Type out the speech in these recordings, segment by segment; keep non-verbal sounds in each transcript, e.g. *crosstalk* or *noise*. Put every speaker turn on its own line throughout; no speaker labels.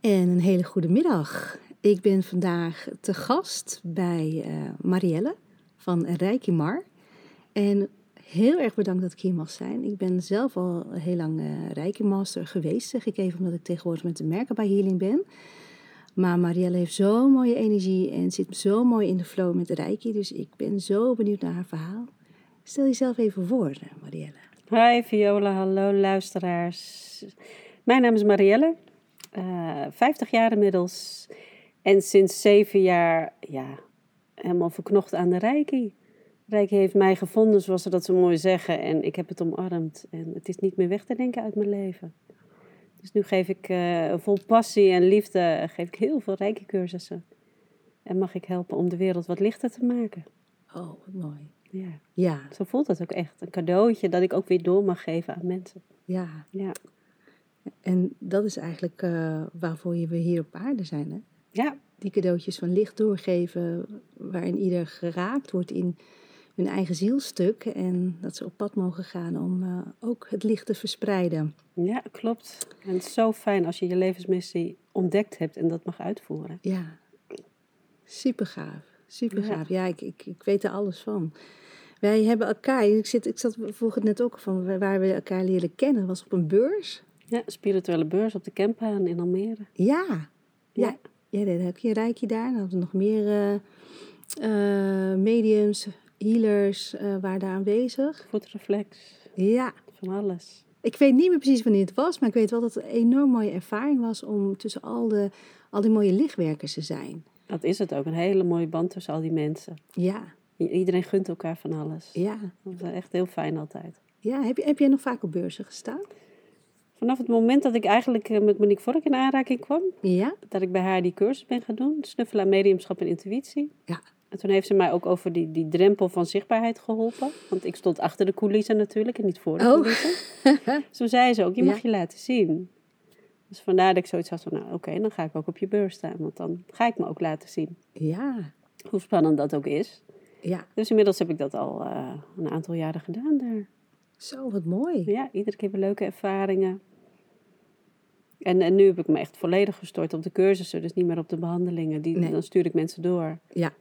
En een hele goede middag. Ik ben vandaag te gast bij eh, Marielle van Rijki Mar. En heel erg bedankt dat ik hier mag zijn. Ik ben zelf al heel lang eh Reiki Master geweest, zeg ik even, omdat ik tegenwoordig met de merken bij Healing ben. Maar Marielle heeft zo'n mooie energie en zit zo mooi in de flow met Reiki. Dus ik ben zo benieuwd naar haar verhaal. Stel jezelf even voor, eh, Marielle.
Hi Viola, hallo luisteraars. Mijn naam is Marielle, eh 50 jaar inmiddels. En sinds zeven jaar, ja, helemaal verknocht aan de Reiki. Reiki heeft mij gevonden, zoals ze dat zo mooi zeggen. En ik heb het omarmd. En het is niet meer weg te denken uit mijn leven. Dus nu geef ik eh, vol passie en liefde geef ik heel veel Reiki-cursussen. En mag ik helpen om de wereld wat lichter te maken.
Oh, wat mooi.
Ja,
Ja,
zo voelt dat ook echt. Een cadeautje dat ik ook weer door mag geven aan mensen.
ja.
Ja.
En dat is eigenlijk eh, waarvoor je- we hier op aarde zijn. Hè?
Ja,
Die cadeautjes van licht doorgeven, waarin ieder geraakt wordt in hun eigen zielstuk. En dat ze op pad mogen gaan om eh, ook het licht te verspreiden.
ja, klopt. En het is zo fijn als je je levensmissie ontdekt hebt en dat mag uitvoeren.
Ja, super gaaf. Super gaaf. Ja, ik, ik, ik weet er alles van. Wij hebben elkaar, ik, zit, ik zat vroeg het net ook van waar we elkaar leren kennen, was op een beurs.
Ja, spirituele beurs op de Kempaan in Almere.
Ja. Ja.
Ja.
Ja, dan heb je een rijkje daar. Dan hadden we nog meer eh, eh, mediums, healers eh, waren daar aanwezig.
Voetreflex,
Ja.
van alles.
Ik weet niet meer precies wanneer het was, maar ik weet wel dat het een enorm mooie ervaring was om tussen al, de, al die mooie lichtwerkers te zijn.
Dat is het ook, een hele mooie band tussen al die mensen.
Ja,
I- Iedereen gunt elkaar van alles.
ja.
Dat is echt heel fijn altijd.
ja. Heb, je, heb jij nog vaak op beurzen gestaan?
Vanaf het moment dat ik eigenlijk eh, met Monique Vork in aanraking kwam,
Ja,
dat ik bij haar die cursus ben gaan doen, snuffelen aan mediumschap en intuïtie.
ja,
En toen heeft ze mij ook over die, die drempel van zichtbaarheid geholpen. Want ik stond achter de coulissen natuurlijk en niet voor de
Oh.
coulissen.
*laughs*
Dus toen zei ze ook, je mag
Ja.
je laten zien. Dus vandaar dat ik zoiets had van, nou oké, dan ga ik ook op je beurs staan. Want dan ga ik me ook laten zien.
ja,
Hoe spannend dat ook is.
ja.
Dus inmiddels heb ik dat al eh, een aantal jaren gedaan daar.
Zo, wat mooi.
Ja, iedere keer weer leuke ervaringen. En, en nu heb ik me echt volledig gestort op de cursussen. Dus niet meer op de behandelingen. Die,
Nee.
Dan stuur ik mensen door
Ja,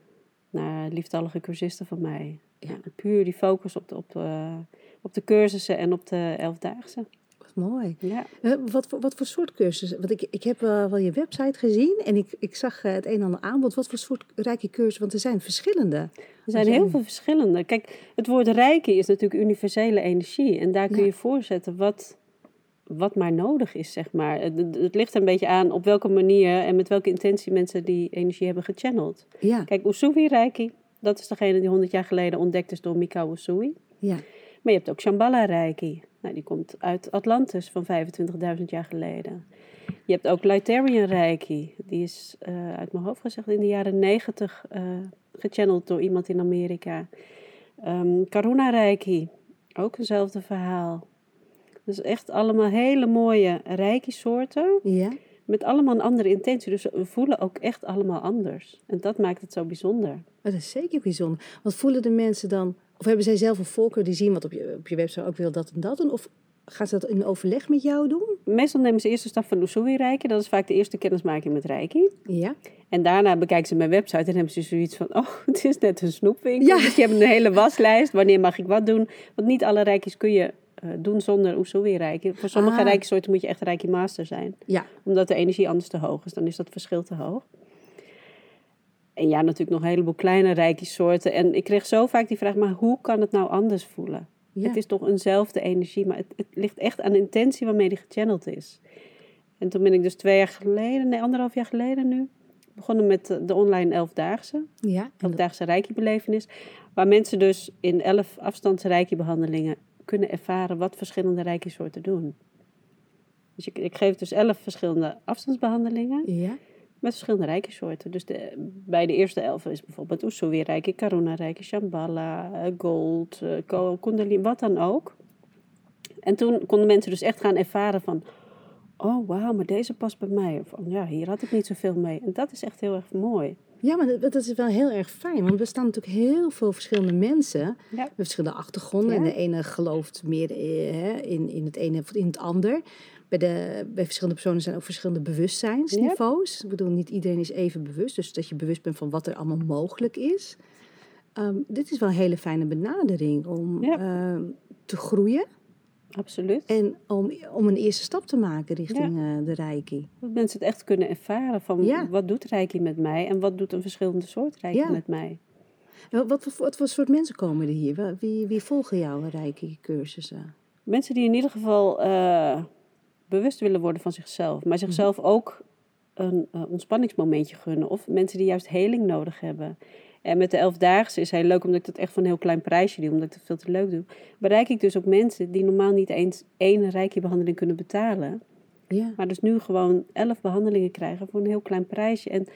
naar lieftallige cursisten van mij.
Ja.
Ja. Puur die focus op de, op, eh, op de cursussen en op de elfdaagse.
wat mooi.
Ja.
Eh, wat, voor, wat voor soort cursussen? Want ik, ik heb eh, wel je website gezien en ik, ik zag eh, het een en ander aanbod. Wat voor soort rijke cursussen? Want er zijn verschillende.
Er zijn heel veel verschillende. Kijk, het woord reiki is natuurlijk universele energie. En daar kun
Ja.
je voorzetten wat, wat maar nodig is, zeg maar. Het, het- het ligt er een beetje aan op welke manier en met welke intentie mensen die energie hebben gechanneld.
Ja,
Kijk, Usui reiki, dat is degene die 100 jaar geleden ontdekt is door Mikao Usui.
ja,
Maar je hebt ook Shambhala Reiki. Nou, die komt uit Atlantis van 25.000 jaar geleden. Je hebt ook Lightarian Reiki. Die is eh, uit mijn hoofd gezegd in de jaren 90 eh, gechanneld door iemand in Amerika. Ehm Karuna Reiki, ook eenzelfde verhaal. Dus echt allemaal hele mooie Reiki-soorten.
ja,
Met allemaal een andere intentie. Dus we voelen ook echt allemaal anders. En dat maakt het zo bijzonder.
dat is zeker bijzonder. Want voelen de mensen dan, of hebben zij zelf een voorkeur die zien wat op je, op je website ook wil dat en dat? En of gaan ze dat in overleg met jou doen?
Meestal nemen ze eerst de stap van Usui Reiki. Dat is vaak de eerste kennismaking met Reiki.
Ja,
En daarna bekijken ze mijn website en hebben ze zoiets van: oh, *laughs* het is net een snoepwinkel.
Ja.
Dus je hebt een hele waslijst. Wanneer mag ik wat doen? Want niet alle rijkjes kun je eh, doen zonder Usui reiki. Voor sommige
Ah.
ah. soorten moet je echt reiki master zijn,
ja,
omdat de energie anders te hoog is. Dan is dat verschil te hoog. En ja, natuurlijk nog een heleboel kleine reiki soorten. En ik kreeg zo vaak die vraag: maar hoe kan het nou anders voelen?
ja.
Het is toch eenzelfde energie, maar het, het ligt echt aan de intentie waarmee die gechanneld is. En toen ben ik dus twee jaar geleden, nee, anderhalf jaar geleden nu, begonnen met de- de online elfdaagse,
ja. En dat-
elfdaagse reiki-belevenis. Waar mensen dus in elf afstands reiki-behandelingen kunnen ervaren wat verschillende reiki-soorten doen. Dus ik, ik geef dus elf verschillende afstandsbehandelingen
ja,
met verschillende reiki-soorten. Dus de, bij de eerste elf is bijvoorbeeld Usui reiki, Karuna reiki, Shambhala, eh, Gold, eh, Ko- Kundalini, wat dan ook. En toen konden mensen dus echt gaan ervaren van... Oh, wauw, maar deze past bij mij. Of oh, ja, hier had ik niet zoveel mee. En dat is echt heel erg mooi.
ja, maar dat, dat is wel heel erg fijn. Want er staan natuurlijk heel veel verschillende mensen.
Ja.
met verschillende achtergronden. En
Ja.
de ene gelooft meer eh, hè, in, in het ene of in het ander. bij, de, bij verschillende personen zijn ook verschillende bewustzijnsniveaus. Ik bedoel, niet iedereen is even bewust. Dus dat je bewust bent van wat er allemaal mogelijk is. Ehm, dit is wel een hele fijne benadering om
Ja.
ehm, te groeien.
absoluut.
En om, om een eerste stap te maken richting eh, de reiki.
Dat mensen het echt kunnen ervaren van
Ja.
wat doet reiki met mij en wat doet een verschillende soort reiki
Ja.
met mij.
En Wat, voor- wat voor soort mensen komen er hier? Wel, Wie, wie volgen jouw reiki-cursussen?
Mensen die in ieder geval eh, bewust willen worden van zichzelf, maar
Mhm.
zichzelf ook een eh, ontspanningsmomentje gunnen. Of mensen die juist heling nodig hebben. En met de Elfdaagse is heel leuk, omdat ik dat echt van een heel klein prijsje doe, omdat ik dat veel te leuk doe. Bereik ik dus ook mensen die normaal niet eens één reiki-behandeling kunnen betalen.
Ja.
Maar dus nu gewoon elf behandelingen krijgen voor een heel klein prijsje. En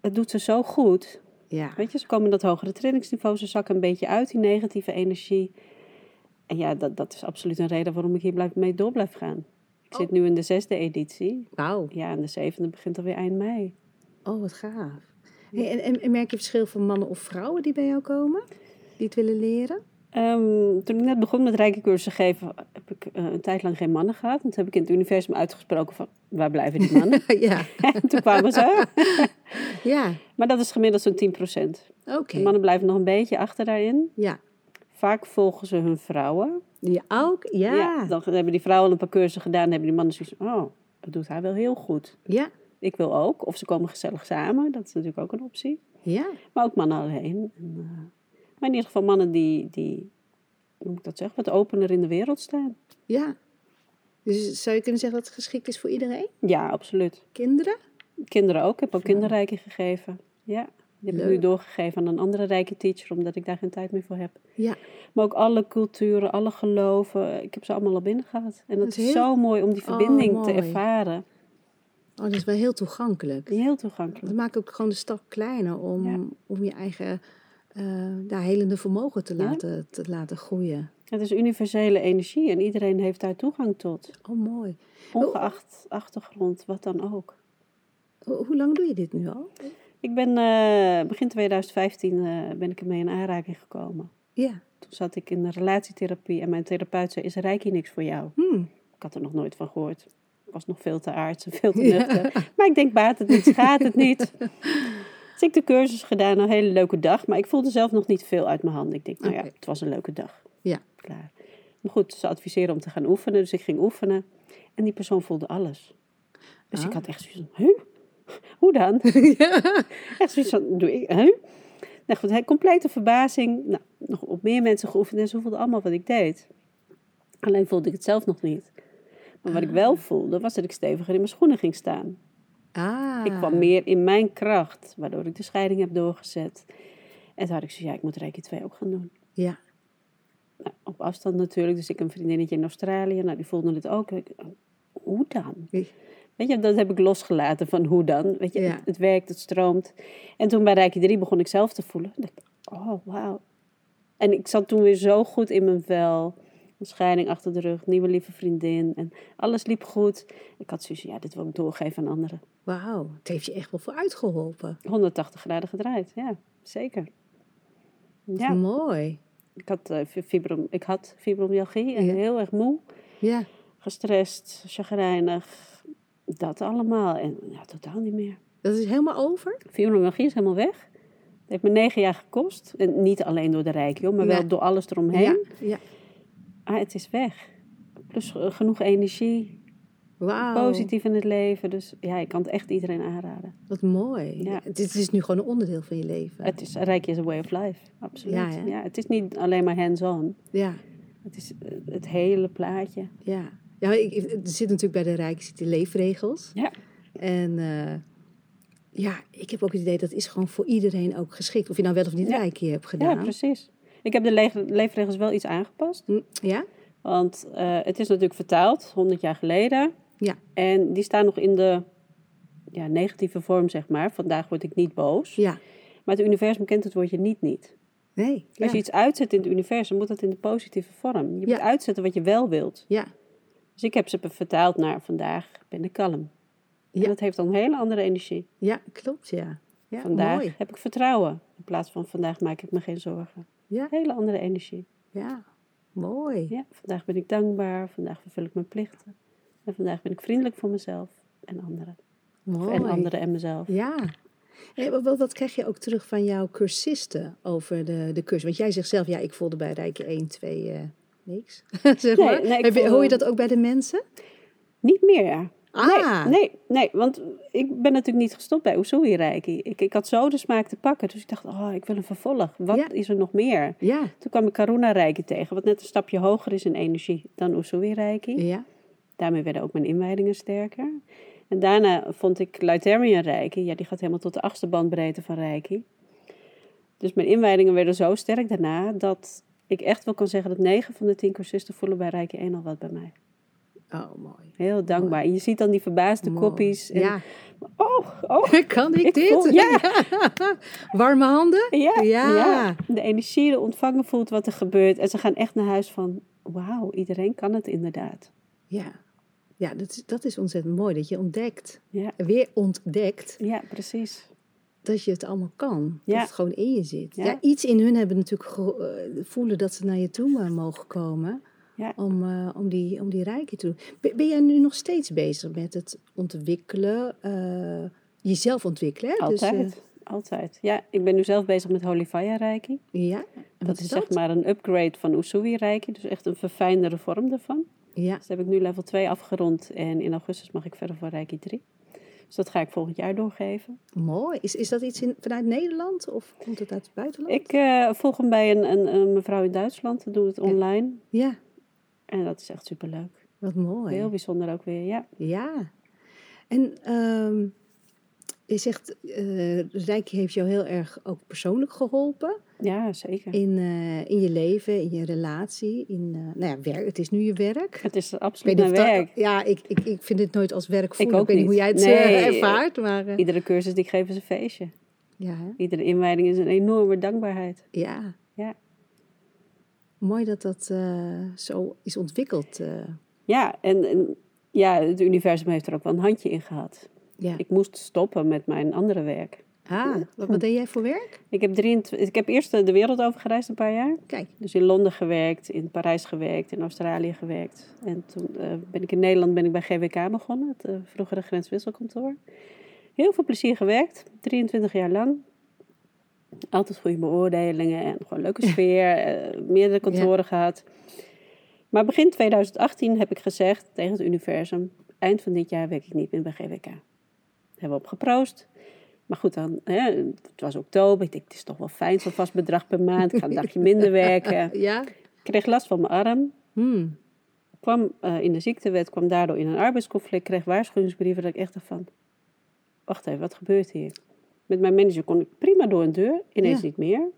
het doet ze zo goed.
ja.
Weet je, ze komen dat hogere trainingsniveau, ze zakken een beetje uit, die negatieve energie. En ja, dat, dat is absoluut een reden waarom ik hier blijf, mee door blijf gaan. Ik zit nu in de zesde editie.
Wauw.
Ja, en de zevende begint alweer eind mei.
Oh, wat gaaf. Hey, en, en- en merk je verschil van mannen of vrouwen die bij jou komen? Die het willen
*laughs*
leren?
Ehm, toen ik net begon met reiki-cursussen geven, heb ik eh, een tijd lang geen mannen gehad. En toen heb ik in het universum uitgesproken van, waar blijven die
*laughs*
mannen?
ja.
en toen kwamen ze.
Ja,
Maar dat is gemiddeld zo'n 10
oké.
De mannen blijven nog een beetje achter daarin.
Ja.
Vaak volgen ze hun vrouwen.
Die ook? Ja.
Ja,
Ja.
dan hebben die vrouwen al een paar cursussen gedaan. Dan hebben die mannen zoiets van, oh, dat doet hij wel heel goed.
Ja.
Ik wil ook. Of ze komen gezellig samen. Dat is natuurlijk ook een optie.
Ja.
Maar ook mannen alleen. En, eh, maar in ieder geval mannen die, die, hoe moet ik dat zeggen, wat opener in de wereld staan.
Dus zou je kunnen zeggen dat het geschikt is voor iedereen?
Ja, absoluut.
Kinderen?
Kinderen ook. Ik heb ook kinderrijken gegeven. Ja, die heb ik nu
Leuk.
doorgegeven aan een andere rijke teacher, omdat ik daar geen tijd meer voor heb.
Ja.
Maar ook alle culturen, alle geloven. Ik heb ze allemaal al binnen gehad. En dat,
Dat is
is
heel-
zo mooi om die verbinding te
mooi.
ervaren.
Oh, dat is wel heel toegankelijk.
Heel toegankelijk.
Dat maakt ook gewoon de stap kleiner om,
Ja.
om je eigen eh daar helende vermogen te
Ja.
laten, te laten groeien.
Het is universele energie en iedereen heeft daar toegang tot.
Oh, mooi.
Ongeacht achtergrond, wat dan ook.
Ho- hoe lang doe je dit nu al?
Ik ben eh, begin 2015 eh, ben ik ermee in aanraking gekomen.
Ja.
Toen zat ik in de relatietherapie en mijn therapeut zei, is reiki niks voor jou?
Hmm.
Ik had er nog nooit van gehoord. Ik was nog veel te aards en veel te nuchter. Maar ik denk, baat het niet, schaadt het
*laughs*
niet. Dus ik de cursus gedaan, een hele leuke dag. Maar ik voelde zelf nog niet veel uit mijn handen. Ik denk, nou
Oké.
ja, het was een leuke dag.
Ja.
Klaar. Maar goed, ze adviseren om te gaan oefenen. Dus ik ging oefenen. En die persoon voelde alles. Dus ik
Ah.
had echt zoiets van, huh? Hoe
*laughs*
dan? *laughs* Echt zoiets van, doe ik, huh? Nou goed, hij- complete verbazing. Nou, nog op meer mensen geoefend en ze voelden allemaal wat ik deed. Alleen voelde ik het zelf nog niet. Maar wat ik wel voelde, was dat ik steviger in mijn schoenen ging staan.
Ah.
Ik kwam meer in mijn kracht, waardoor ik de scheiding heb doorgezet. En toen had ik zoiets, ja, ik moet Reiki 2 ook gaan doen.
Ja.
Nou, op afstand natuurlijk, dus ik heb een vriendinnetje in Australië, nou, die voelde het ook. Ik, hoe dan? Weet je, dat heb ik losgelaten van hoe dan. Weet je,
Ja.
het, het werkt, het stroomt. En toen bij Reiki 3 begon ik zelf te voelen. Ik dacht, oh, wauw. En ik zat toen weer zo goed in mijn vel. Een scheiding achter de rug, nieuwe lieve vriendin. En alles liep goed. Ik had zoiets ja, dit wil ik doorgeven aan anderen.
Wauw, het heeft je echt wel vooruit geholpen.
180 graden gedraaid, ja, zeker. Ja,
Hm. Mooi.
ik had, eh, fi- fibrom, ik had fibromyalgie en
Ja.
heel erg moe.
Ja.
Gestrest, chagrijnig, dat allemaal. En ja, totaal niet meer.
Dat is helemaal over?
Fibromyalgie is helemaal weg. Het heeft me negen jaar gekost. En niet alleen door de rijk, joh, maar
Nee.
wel door alles eromheen.
Ja. ja.
Ah, het is weg. Plus eh, genoeg energie,
Wauw.
positief in het leven. Dus ja, ik kan het echt iedereen aanraden.
Wat mooi.
Ja.
Dit is nu gewoon een onderdeel van je leven.
Het is, rijk is a way of life, absoluut.
Ja, hè?
ja, het is niet alleen maar hands-on.
Ja.
Het is eh, het hele plaatje.
Ja. Ja, ik, ik- er zit natuurlijk bij de Rijk zit die leefregels.
Ja.
En eh, ja, ik heb ook het idee dat is gewoon voor iedereen ook geschikt. Of je nou wel of niet
Ja.
Rijk hier hebt
Ja,
gedaan.
precies. Ik heb de le- leefregels wel iets aangepast.
Hm, Ja?
Want eh, het is natuurlijk vertaald, 100 jaar geleden.
Ja.
En die staan nog in de ja, negatieve vorm, zeg maar. Vandaag word ik niet boos.
Ja.
Maar het universum kent het woordje niet niet.
Nee. Ja.
Als je iets uitzet in het universum, moet dat in de positieve vorm. Je
Ja.
moet uitzetten wat je wel wilt.
ja.
Dus ik heb ze vertaald naar vandaag ben ik kalm.
Ja.
En dat heeft dan een hele andere energie.
Ja, klopt, ja. ja
Vandaag
Mooi.
heb ik vertrouwen. In plaats van vandaag maak ik me geen zorgen.
Ja.
Hele andere energie.
Ja, mooi.
Ja, vandaag ben ik dankbaar, vandaag vervul ik mijn plichten. En vandaag ben ik vriendelijk voor mezelf en anderen.
Mooi.
En anderen en mezelf.
Ja. En wat- wat, wat krijg je ook terug van jouw cursisten over de, de cursus? Want jij zegt zelf, ja, ik voelde bij Rijken 1, 2 eh niks. *laughs* zeg
Nee,
maar.
nee,
Heb
ik
je-
voelde-
Hoor je dat ook bij de mensen?
Niet meer.
Ah,
Nee, nee, nee, want ik ben natuurlijk niet gestopt bij Usui Reiki. Ik, ik had zo de smaak te pakken. Dus ik dacht, oh, ik wil een vervolg. Wat
Ja.
is er nog meer?
ja.
Toen kwam ik Karuna Reiki tegen, wat net een stapje hoger is in energie dan Usui Reiki.
Ja.
Daarmee werden ook mijn inwijdingen sterker. En daarna vond ik Lightarian Reiki. Ja, die gaat helemaal tot de achtste bandbreedte van Reiki. Dus mijn inwijdingen werden zo sterk daarna dat ik echt wel kan zeggen dat 9 van de 10 cursisten voelen bij Reiki 1 al wat bij mij.
Oh, mooi.
Heel dankbaar. En je ziet dan die verbaasde
Mooi.
koppies. En,
Ja. *laughs*
Oh, oh.
Kan ik,
Ik
dit?
voel- ja.
*laughs* Warme handen?
Ja,
Ja.
ja. de energie, de ontvangen voelt wat er gebeurt. En ze gaan echt naar huis van, wauw, iedereen kan het inderdaad.
Ja. Ja, dat is, dat is ontzettend mooi. Dat je ontdekt,
Ja,
weer ontdekt,
ja precies.
dat je het allemaal kan. Dat
Ja.
het gewoon in je zit. Ja.
Ja.
iets in hun hebben natuurlijk ge- eh, voelen dat ze naar je toe maar mogen komen.
Ja.
Om, eh, om die, om die rijkje te doen. Ben, ben jij nu nog steeds bezig met het ontwikkelen, eh, jezelf ontwikkelen? Hè? Dus,
Altijd, altijd. Ja, ik ben nu zelf bezig met Holy Fire Reiki.
eh, ja, En wat
Dat is zeg maar een upgrade van Usui Reiki. Dus echt een verfijndere vorm daarvan.
Ja,
Dus heb ik nu level 2 afgerond. En in augustus mag ik verder voor Reiki 3. Dus dat ga ik volgend jaar doorgeven.
mooi. Is, is dat iets in, vanuit Nederland of komt het uit het buitenland?
Ik eh, volg hem bij een, een, een mevrouw in Duitsland. Dat doet het online.
Ja,
En dat is echt superleuk.
wat mooi.
Heel bijzonder ook weer, ja.
Ja. En ehm, je zegt, eh Rijkje heeft jou heel erg ook persoonlijk geholpen.
Ja, zeker.
In, eh, in je leven, in je relatie, in eh, nou ja, werk. Het is nu je werk.
Het is
Ik
absoluut
weet niet
mijn
of dat-
werk.
ja, ik, ik, ik vind het nooit als werk voelen.
ook
weet niet hoe jij
niet.
het eh,
Nee.
ervaart. Maar eh,
Iedere cursus die ik geef is een feestje.
ja, hè?
Iedere inwijding is een enorme dankbaarheid.
ja.
Ja.
Mooi dat dat eh, zo is ontwikkeld. eh.
Ja, en, en ja, het universum heeft er ook wel een handje in gehad.
ja.
Ik moest stoppen met mijn andere werk.
Ah, wat, wat deed jij voor werk?
Ik heb, 23, ik heb eerst eh, de wereld over gereisd een paar jaar.
Kijk.
Dus in Londen gewerkt, in Parijs gewerkt, in Australië gewerkt. En toen eh, ben ik in Nederland ben ik bij GWK begonnen, het eh, vroegere grenswisselkantoor. Heel veel plezier gewerkt, 23 jaar lang. Altijd goede beoordelingen en gewoon leuke sfeer. eh, meerdere kantoren gehad. Maar begin 2018 heb ik gezegd tegen het universum... eind van dit jaar werk ik niet meer bij GWK. Daar hebben we op geproost. Maar goed, dan, hè, het was oktober. Ik dacht, het is toch wel fijn, zo'n vast bedrag per maand. Ik ga een dagje minder werken.
Ja.
Ik kreeg last van mijn arm.
Hmm. *laughs*
Kwam eh, in de ziektewet, kwam daardoor in een arbeidsconflict. Kreeg waarschuwingsbrieven dat ik echt dacht van... Wacht even, wat gebeurt hier? Met mijn manager kon ik prima door een deur. Ineens
Ja.
niet meer.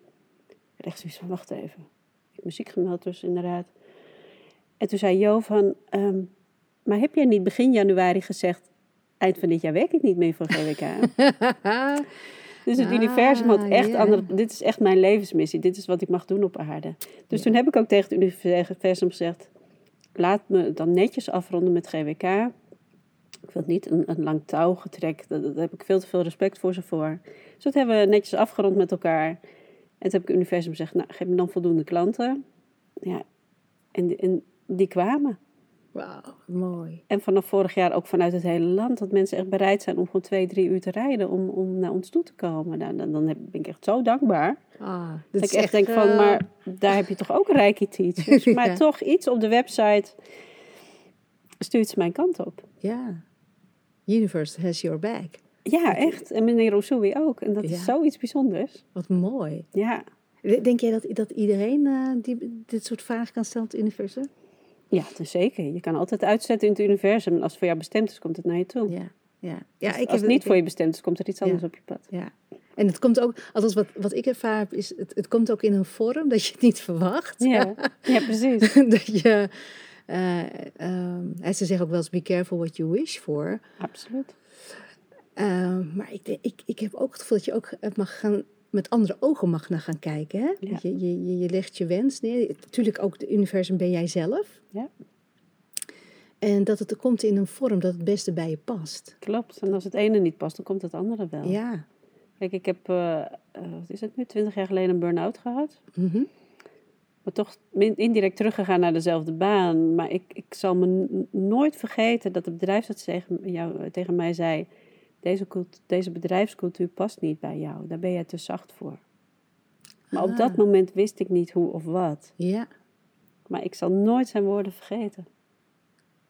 Ik dacht zoiets van, wacht even. Ik heb muziek gemeld dus, inderdaad. En toen zei Jo van... ehm, maar heb jij niet begin januari gezegd... Eind van dit jaar werk ik niet meer voor GWK? Dus het
Ah,
universum had echt
ja.
andere... Dit is echt mijn levensmissie. Dit is wat ik mag doen op aarde. Dus toen heb ik ook tegen het universum gezegd... Laat me dan netjes afronden met GWK. Ik wil niet een, een lang touw getrek. Daar, daar heb ik veel te veel respect voor ze voor. Dus dat hebben we netjes afgerond met elkaar. En toen heb ik het universum gezegd... Nou, geef me dan voldoende klanten. Ja, en, die- en die kwamen.
Wauw, mooi.
En vanaf vorig jaar ook vanuit het hele land. Dat mensen echt bereid zijn om gewoon twee, drie uur te rijden om, om naar ons toe te komen. Nou, dan, dan heb- ben ik echt zo dankbaar.
Ah, dit
Dat
is
ik echt denk van,
eh,
maar daar heb je toch ook
*laughs*
Reiki teachers. Maar
Ja.
toch iets op de website stuurt ze mijn kant op.
Ja. Universe has your back.
Ja, echt. En meneer Osui ook. En dat
Ja.
is zoiets bijzonders.
Wat mooi.
Ja.
Denk jij dat, dat iedereen eh, die, dit soort vragen kan stellen op het universum?
Ja, dat is zeker. Je kan altijd uitzetten in het universum. En als het voor jou bestemd is, komt het naar je toe.
Ja. ja. ja
als als het niet voor je bestemd is, komt er iets
Ja.
anders op je pad.
Ja. En het komt ook, althans wat, wat ik ervaar heb, is het, het komt ook in een vorm dat je het niet verwacht. *laughs*
Ja, ja precies.
dat je, eh, ehm, en ze zeggen ook wel eens, be careful what you wish for.
Absoluut.
Eh, maar ik, denk- ik, ik heb ook het gevoel dat je ook het mag gaan, met andere ogen mag naar gaan kijken. Hè?
Ja.
Dat Je, je, je, je legt je wens neer. Natuurlijk ook het universum ben jij zelf.
Ja.
En dat het er komt in een vorm dat het beste bij je past.
Klopt. En als het ene niet past, dan komt het andere wel.
Ja.
Kijk, ik heb, eh, eh, wat is het nu, twintig jaar geleden een burn-out gehad.
Mhm.
Maar toch min- indirect teruggegaan naar dezelfde baan. Maar ik, ik zal me n- nooit vergeten dat de bedrijfsarts tegen, jou, eh, tegen mij zei... Deze, cult- deze bedrijfscultuur past niet bij jou. Daar ben jij te zacht voor. Maar op
Ah.
dat moment wist ik niet hoe of wat.
Ja,
Maar ik zal nooit zijn woorden vergeten.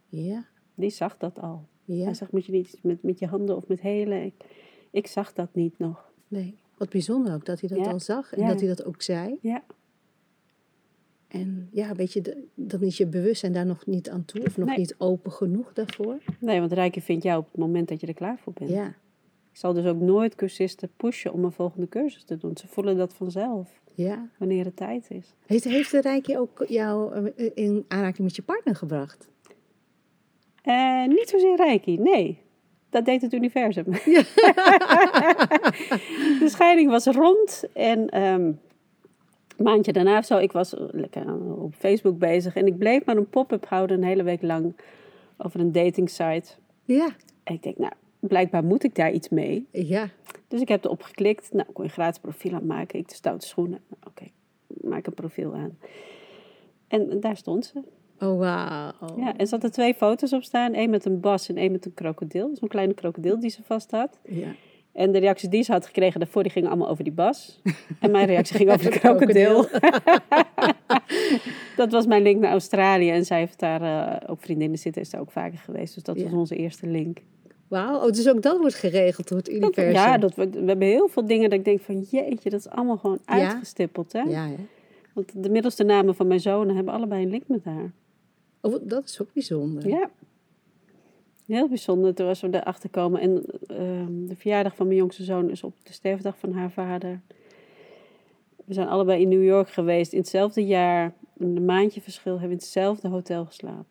ja,
Die zag dat al.
ja.
Hij zag, moet je niet iets met, met je handen of met helen. Ik, ik zag dat niet nog.
Nee. Wat bijzonder ook, dat hij dat
Ja.
al zag en
Ja,
dat
ja.
hij dat ook zei.
Ja,
En ja, weet je, de- dan is je bewustzijn daar nog niet aan toe of nog
Nee.
niet open genoeg daarvoor.
nee, want Rijke vindt jou op het moment dat je er klaar voor bent.
Ja,
Ik zal dus ook nooit cursisten pushen om een volgende cursus te doen. Ze voelen dat vanzelf,
ja.
wanneer het tijd is.
Heeft, heeft de Reiki ook jou eh, in aanraking met je partner gebracht?
Eh, niet zozeer Reiki, nee. Dat deed het universum. *laughs* de scheiding was rond en ehm, een maandje daarna of zo, ik was lekker aan- op Facebook bezig. En ik bleef maar een pop-up houden een hele week lang over een datingsite.
Ja,
En ik denk, nou, blijkbaar moet ik daar iets mee.
ja,
Dus ik heb erop geklikt. Nou, kon je een gratis profiel aanmaken. Ik de stoute schoenen. Nou, Oké, maak een profiel aan. En daar stond ze.
oh wauw.
Ja, er zaten twee foto's op staan. Eén met een bas en één met een krokodil. Zo'n kleine krokodil die ze vast had.
ja.
En de reacties die ze had gekregen daarvoor, die gingen allemaal over die bas. *laughs* En mijn reactie ging over de krokodil. *laughs* dat was mijn link naar Australië. En zij heeft daar eh, ook vriendinnen zitten. Is daar ook vaker geweest. Dus dat
Ja.
was onze eerste link.
Wauw, oh, dus ook dat wordt geregeld door het
Dat-
universum.
ja, dat, we, we hebben heel veel dingen dat ik denk van jeetje, dat is allemaal gewoon
Ja.
uitgestippeld. Hè?
Ja, hè?
Want de middelste namen van mijn zonen hebben allebei een link met haar.
Oh, wat- dat is ook bijzonder. *laughs*
Ja. Heel bijzonder toen we erachter komen. En ehm, de verjaardag van mijn jongste zoon is op de sterfdag van haar vader. We zijn allebei in New York geweest. In hetzelfde jaar, een maandje verschil, hebben we in hetzelfde hotel geslapen.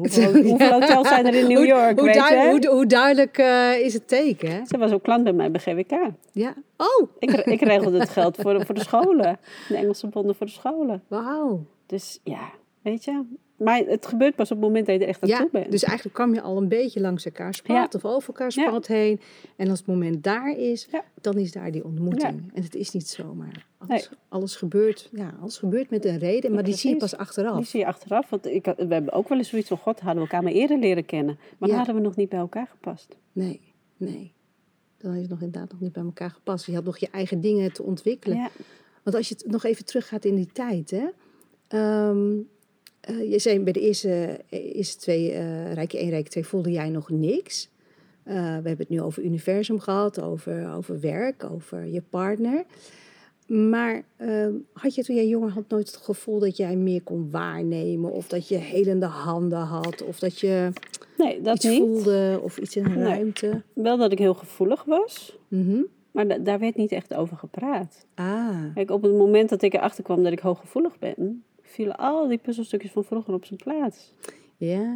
*laughs*
hoeveel, hoeveel hotels zijn er in New
Hoe-
York?
Hoe,
weet je?
duidelijk, hoe, hoe duidelijk eh, is het teken, hè?
Ze was ook klant bij mij bij GWK.
Ja. Oh,
Ik, ik regelde het geld voor de, voor de scholen. De Engelse bonden voor de scholen.
wauw.
Dus ja, weet je. Maar het gebeurt pas op het moment dat je er echt aan
Ja,
toe bent.
dus eigenlijk kwam je al een beetje langs elkaar spad of over elkaar
Ja.
spad heen. En als het moment daar is,
Ja.
dan is daar die ontmoeting. En het is niet zomaar. Alles,
Nee.
alles, gebeurt, ja, alles gebeurt met een reden, maar die zie je
precies.
pas achteraf.
Die zie je achteraf. Want ik, eh, we hebben ook wel eens zoiets van... God, hadden we elkaar maar eerder leren kennen. Maar dan
Ja.
hadden we nog niet bij elkaar gepast.
Nee, nee. Dan is het nog inderdaad nog niet bij elkaar gepast. Je had nog je eigen dingen te ontwikkelen.
Ja,
Want als je het nog even teruggaat in die tijd, hè. Ehm, eh, je zei bij de eerste, eerste twee, eh Rijk 1, Rijk 2, voelde jij nog niks. Eh, we hebben het nu over universum gehad, over, over werk, over je partner. Maar ehm, had je toen jij jonger had nooit het gevoel dat jij meer kon waarnemen? Of dat je helende handen had? Of dat je
nee, dat
iets
niet.
voelde of iets in een
Nee.
ruimte?
Wel dat ik heel gevoelig was.
Mhm.
Maar da- daar werd niet echt over gepraat.
Ah,
Kijk, op het moment dat ik erachter kwam dat ik hooggevoelig ben... vielen al die puzzelstukjes van vroeger op zijn plaats.
ja.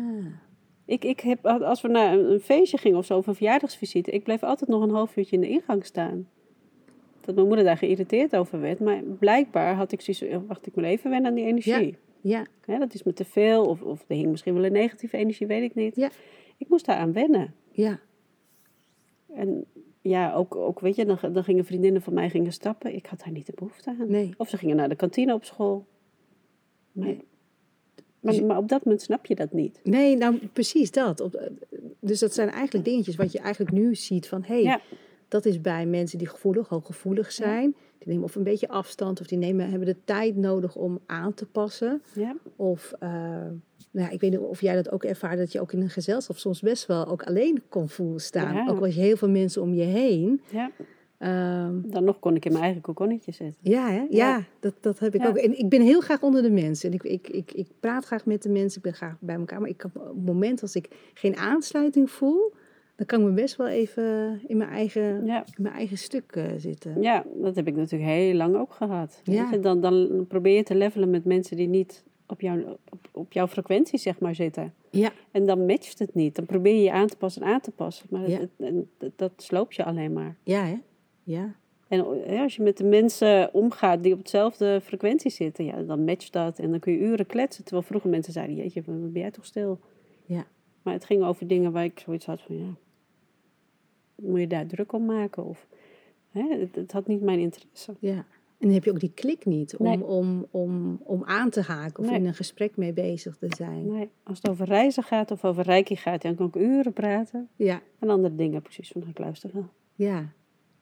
Ik, ik heb, als we naar een, een feestje gingen of zo, of een verjaardagsvisite, ik bleef altijd nog een half uurtje in de ingang staan. Dat mijn moeder daar geïrriteerd over werd, maar blijkbaar had ik zoiets, eh, wacht ik moet even wennen aan die energie.
Ja,
Hè, dat is me te veel, of, of er hing misschien wel een negatieve energie, weet ik niet.
Ja.
Ik moest daaraan wennen.
ja.
En ja, ook, ook weet je, dan, dan gingen vriendinnen van mij gingen stappen, ik had daar niet de behoefte aan.
Nee.
Of ze gingen naar de kantine op school. Maar,
Nee. Dus-
maar, maar op dat moment snap je dat niet.
Nee, nou precies dat. Op- Dus dat zijn eigenlijk dingetjes wat je eigenlijk nu ziet van... hé, hey,
Ja.
dat is bij mensen die gevoelig, hooggevoelig zijn. Die nemen of een beetje afstand of die nemen, hebben de tijd nodig om aan te passen.
Ja.
Of, eh, nou ja, ik weet niet of jij dat ook ervaart... dat je ook in een gezelschap soms best wel ook alleen kon voelen staan.
Ja.
Ook al je heel veel mensen om je heen.
ja.
Ehm,
Dan nog kon ik in mijn eigen kokonnetje zitten.
ja, hè? ja. dat, dat heb ik
Ja.
ook. En ik ben heel graag onder de mensen. En ik, ik, ik, ik praat graag met de mensen. Ik ben graag bij elkaar. Maar ik kan, op het moment als ik geen aansluiting voel, dan kan ik me best wel even in mijn eigen,
Ja.
in mijn eigen stuk eh, zitten.
Ja, dat heb ik natuurlijk heel lang ook gehad.
Ja.
Weet je, Dan, dan probeer je te levelen met mensen die niet op, jou, op, op jouw frequentie zeg maar, zitten.
Ja,
En dan matcht het niet. Dan probeer je je aan te passen en aan te passen. Maar
Ja.
het- en dat, dat sloop je alleen maar.
ja, hè? Ja.
En hè, als je met de mensen omgaat die op hetzelfde frequentie zitten, ja, dan matcht dat. En dan kun je uren kletsen. Terwijl vroeger mensen zeiden, jeetje, wat ben jij toch stil?
Ja.
Maar het ging over dingen waar ik zoiets had van, ja, moet je daar druk om maken? Of, hè, het, het had niet mijn interesse.
Ja, En dan heb je ook die klik niet om,
Nee.
om, om, om aan te haken of
Nee.
in een gesprek mee bezig te zijn.
Nee, als het over reizen gaat of over reiki gaat, dan kan ik uren praten.
Ja,
En andere dingen precies van ga ik luisteren.
ja.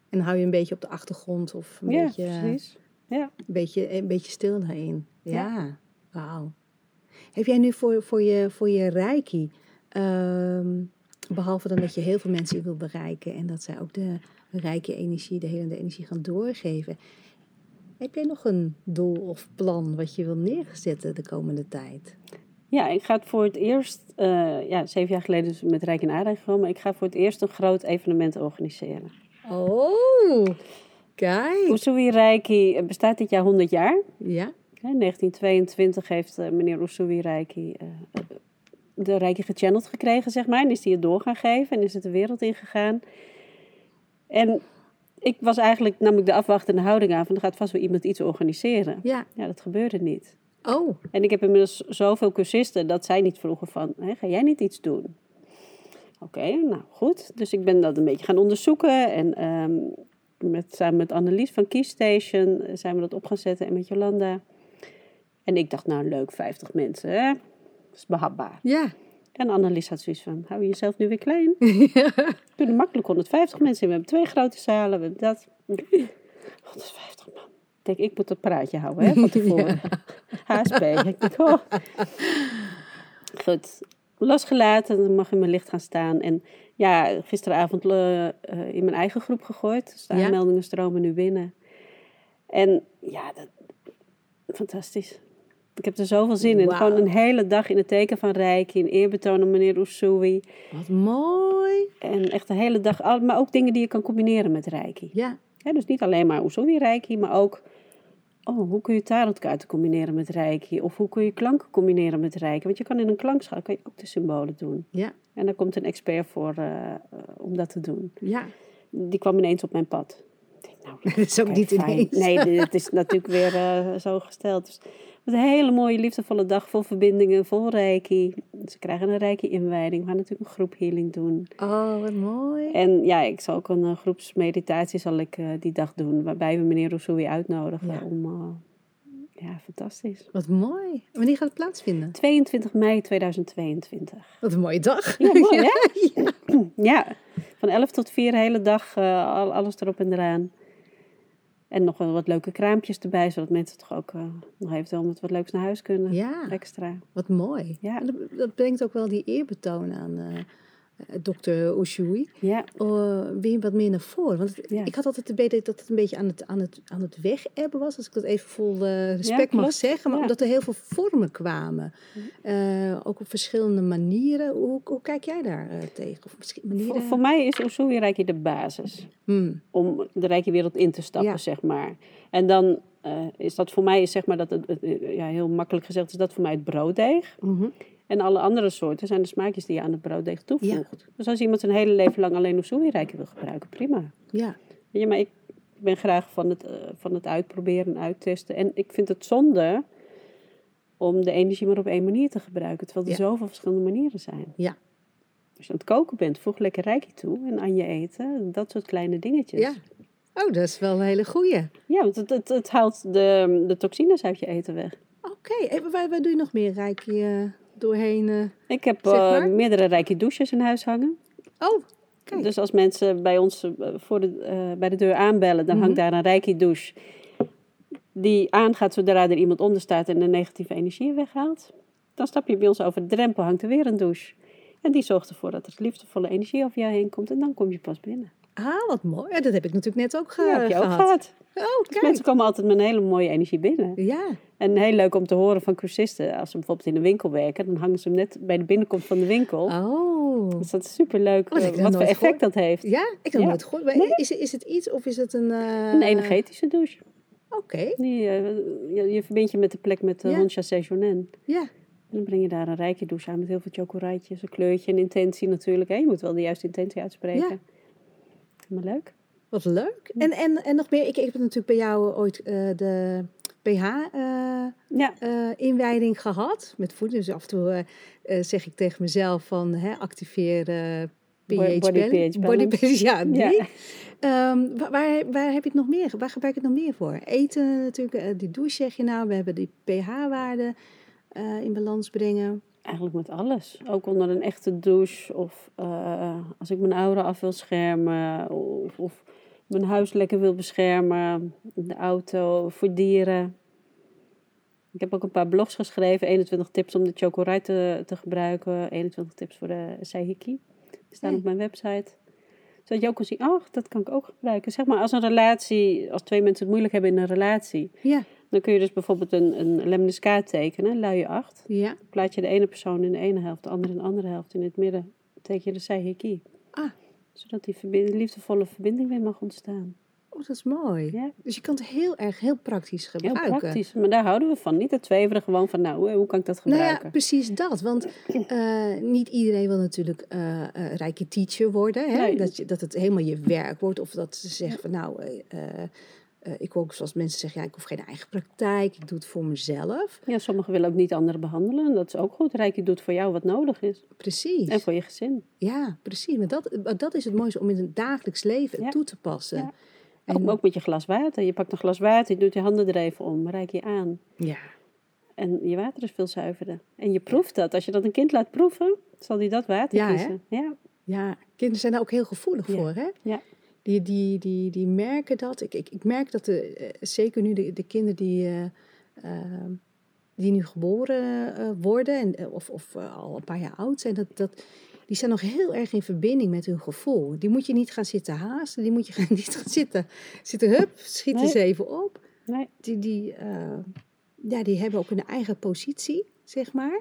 En dan hou je een beetje op de achtergrond of een,
ja,
beetje, eh, een,
precies. Ja.
beetje, eh, een beetje stil daarin. Ja,
Ja.
wauw. Heb jij nu voor, voor, je, voor je reiki, ehm, behalve dan dat je heel veel mensen wil bereiken en dat zij ook de rijke energie, de helende energie gaan doorgeven. Heb jij nog een doel of plan wat je wil neerzetten de komende tijd?
ja, ik ga het voor het eerst, eh, ja, zeven jaar geleden is het met Rijk en Aardrijk gekomen. maar ik ga voor het eerst een groot evenement organiseren.
Oh, kijk.
Usui Reiki eh, bestaat dit jaar 100 jaar.
Ja,
Hè, In 1922 heeft eh, meneer Usui Reiki eh, de Reiki gechanneld gekregen, zeg maar. En is die het door gaan geven en is het de wereld ingegaan. En ik was eigenlijk, nam ik de afwachtende houding aan van er gaat vast wel iemand iets organiseren.
ja.
Ja, dat gebeurde niet.
Oh,
En ik heb inmiddels zoveel cursisten dat zij niet vroegen van, hè, ga jij niet iets doen? Oké, nou goed. Dus ik ben dat een beetje gaan onderzoeken. En ehm, met, samen met Annelies van Keystation eh, zijn we dat op gaan zetten en met Jolanda. En ik dacht, nou leuk, 50 mensen, hè? Dat is behapbaar.
ja.
En Annelies had zoiets van, hou je jezelf nu weer klein? We kunnen makkelijk 150 mensen in. We hebben twee grote zalen, we hebben dat. 150 man. Ik denk, ik moet dat praatje houden, hè, van tevoren. HSP. Ik denk, oh. Goed. Losgelaten, dan mag in mijn licht gaan staan. En ja, gisteravond eh, eh, in mijn eigen groep gegooid. Dus de
Ja.
aanmeldingen stromen nu binnen. En ja, dat, fantastisch. Ik heb er zoveel zin in.
Wauw.
Gewoon een hele dag in het teken van Reiki, in eerbetoon aan meneer Usui.
Wat mooi.
En echt de hele dag, al- maar ook dingen die je kan combineren met Reiki.
Ja,
Hè, dus niet alleen maar Usui Reiki, maar ook... Oh, hoe kun je tarotkaarten combineren met Reiki? Of hoe kun je klanken combineren met Reiki? Want je kan in een klankschaal kan je ook de symbolen doen.
ja,
En daar komt een expert voor eh, eh, om dat te doen.
ja. *laughs*
Die kwam ineens op mijn pad. Ik denk, nou,
Dat is ook
Oké,
niet
fijn.
ineens.
Nee, het is natuurlijk weer eh, zo gesteld. Dus het was een hele mooie, liefdevolle dag. Vol verbindingen, vol reiki. Ze krijgen een reiki inwijding. We gaan natuurlijk een groep healing doen.
Oh, wat mooi.
En ja, ik zal ook een eh, groepsmeditatie zal ik, eh, die dag doen. Waarbij we meneer Rousseau uitnodigen
Ja.
om... eh, ja, fantastisch.
Wat mooi. Wanneer gaat het plaatsvinden?
22 mei 2022.
Wat een mooie dag.
Ja, mooi, hè?
*laughs* ja.
Ja, van 11 tot 4 hele dag eh, al- alles erop en eraan. En nog wel wat leuke kraampjes erbij, zodat mensen toch ook eh, nog eventueel met wat leuks naar huis kunnen.
Ja,
Extra.
wat mooi.
Ja.
En Dat, dat brengt ook wel die eerbetoon aan eh dokter Ushui.
Ja,
Oh, weer wat meer naar voren. Want het-
Ja.
ik had altijd de idee dat het een beetje aan het, aan het, aan het weg ebben was. Als ik dat even vol eh, respect mag
klopt.
zeggen. Maar
Ja.
omdat er heel veel vormen kwamen. Eh, ook op verschillende manieren. Hoe, hoe kijk jij daar eh, tegen? Of misschien manieren?
voor, voor mij is Usui Reiki de basis.
Hmm,
Om de rijke wereld in te stappen,
Ja.
zeg maar. En dan eh, is dat voor mij, is zeg maar, dat het, het- ja, heel makkelijk gezegd, is dat voor mij het brooddeeg.
mhm.
En alle andere soorten zijn de smaakjes die je aan het brooddeeg toevoegt. Dus als iemand zijn hele leven lang alleen Usui Reiki wil gebruiken, prima.
Ja,
Weet je, maar ik ben graag van het, eh, van het uitproberen en uittesten. En ik vind het zonde om de energie maar op één manier te gebruiken. Terwijl er
Ja.
zoveel verschillende manieren zijn.
Ja.
Als je aan het koken bent, voeg lekker rijkje toe en aan je eten. Dat soort kleine dingetjes.
ja. Oh, dat is wel een hele goeie.
Ja, want het, het, het haalt de, de toxines uit je eten weg.
Oké, en waar, waar doe je nog meer reiki eh, doorheen? eh?
Ik heb
Zeg maar.
eh, meerdere rijkje douches in huis hangen.
Oh, kijk.
Dus als mensen bij ons eh, voor de, eh, bij de deur aanbellen, dan
Mhm.
hangt daar een rijkje douche. Die aangaat zodra er iemand onder staat en de negatieve energie weghaalt. Dan stap je bij ons over de drempel, hangt er weer een douche. En die zorgt ervoor dat er liefdevolle energie over jou heen komt. En dan kom je pas binnen.
ah, wat mooi. Ja, dat heb ik natuurlijk net ook ge-
Ja, heb je ook
gehad.
gehad.
Oh,
Dus
kijk.
mensen komen altijd met een hele mooie energie binnen.
Ja,
En heel leuk om te horen van cursisten. Als ze bijvoorbeeld in een winkel werken, dan hangen ze hem net bij de binnenkomst van de winkel.
oh.
Dus dat is superleuk
Oh, dat
eh,
heb ik nog
wat voor
nooit
effect
gehoord.
dat heeft.
Ja, ik heb
Ja.
het nooit gehoord. Maar is, is het iets of is het een... eh,
Een energetische douche.
Oké,
Die, eh, je, je verbindt je met de plek met de
Ja.
Honsha Sejonen.
ja.
En dan breng je daar een rijke douche aan met heel veel chocoraatjes, een kleurtje en intentie natuurlijk. Hè? Je moet wel de juiste intentie uitspreken. Maar leuk.
Wat leuk. En, en, en nog meer, ik, ik heb natuurlijk bij jou ooit eh, de eh, PH-inwijding
Ja,
gehad. Met voeding. Dus af en toe eh, eh, zeg ik tegen mezelf van hè, activeer eh,
Bo-
pH
body
balance.
pH
Body
balance.
pH, ja, die.
Ja.
Ehm, wa- waar, waar heb je het nog meer? Waar gebruik je het nog meer voor? Eten natuurlijk, eh, die douche zeg je nou. We hebben die pH-waarde eh, in balans brengen.
Eigenlijk met alles. Ook onder een echte douche. Of eh, als ik mijn ouderen af wil schermen. Of, of mijn huis lekker wil beschermen. De auto, voor dieren. Ik heb ook een paar blogs geschreven. 21 tips om de chocorij te, te gebruiken. 21 tips voor de Saihiki. Die staan
Ja.
op mijn website. Zodat je ook kan zien, ach, dat kan ik ook gebruiken. Zeg maar als een relatie, als twee mensen het moeilijk hebben in een relatie.
Ja,
Dan kun je dus bijvoorbeeld een, een lemniscaat tekenen, luie 8
ja.
plaat je de ene persoon in de ene helft, de andere in de andere helft. In het midden teken je de Saihiki.
Ah.
Zodat die verbind- liefdevolle verbinding weer mag ontstaan.
Oh, dat is mooi.
Ja,
Dus je kan het heel erg, heel praktisch
heel
gebruiken.
praktisch. Maar daar houden we van. Niet het tweeveren gewoon van, nou, hoe, hoe kan ik dat
Nou
gebruiken?
ja, precies dat. Want eh, niet iedereen wil natuurlijk eh eh, rijke teacher worden. Hè?
Nee.
Dat, je, dat het helemaal je werk wordt. Of dat ze zeggen van nou, eh, eh, eh, ik ook zoals mensen zeggen, ja, ik hoef geen eigen praktijk. Ik doe het voor mezelf.
ja, sommigen willen ook niet anderen behandelen. En dat is ook goed. Rijkje doet voor jou wat nodig is.
Precies.
En voor je gezin.
Ja, precies. Maar dat, maar dat is het mooiste om in het dagelijks leven het
Ja.
toe te passen.
Ja.
En-
Ook, ook met je glas water. Je pakt een glas water, je doet je handen er even om, rijk je aan.
ja.
En je water is veel zuiverder. En je proeft dat. Als je dat een kind laat proeven, zal die dat water
Ja, hè?
kiezen. Ja,
Ja, kinderen zijn daar ook heel gevoelig
Ja.
voor, hè?
Ja.
Die, die, die, die merken dat. Ik, ik, ik merk dat de, eh, zeker nu de, de kinderen die, eh, ehm, die nu geboren eh, worden... En, eh, of, of eh, al een paar jaar oud zijn... Dat, dat, die zijn nog heel erg in verbinding met hun gevoel. Die moet je niet gaan zitten haasten. Die moet je *laughs* gaan, niet gaan zitten... Zitten, hup, schiet
Nee.
eens even op.
nee.
die, die, eh, ja, die hebben ook hun eigen positie, zeg maar.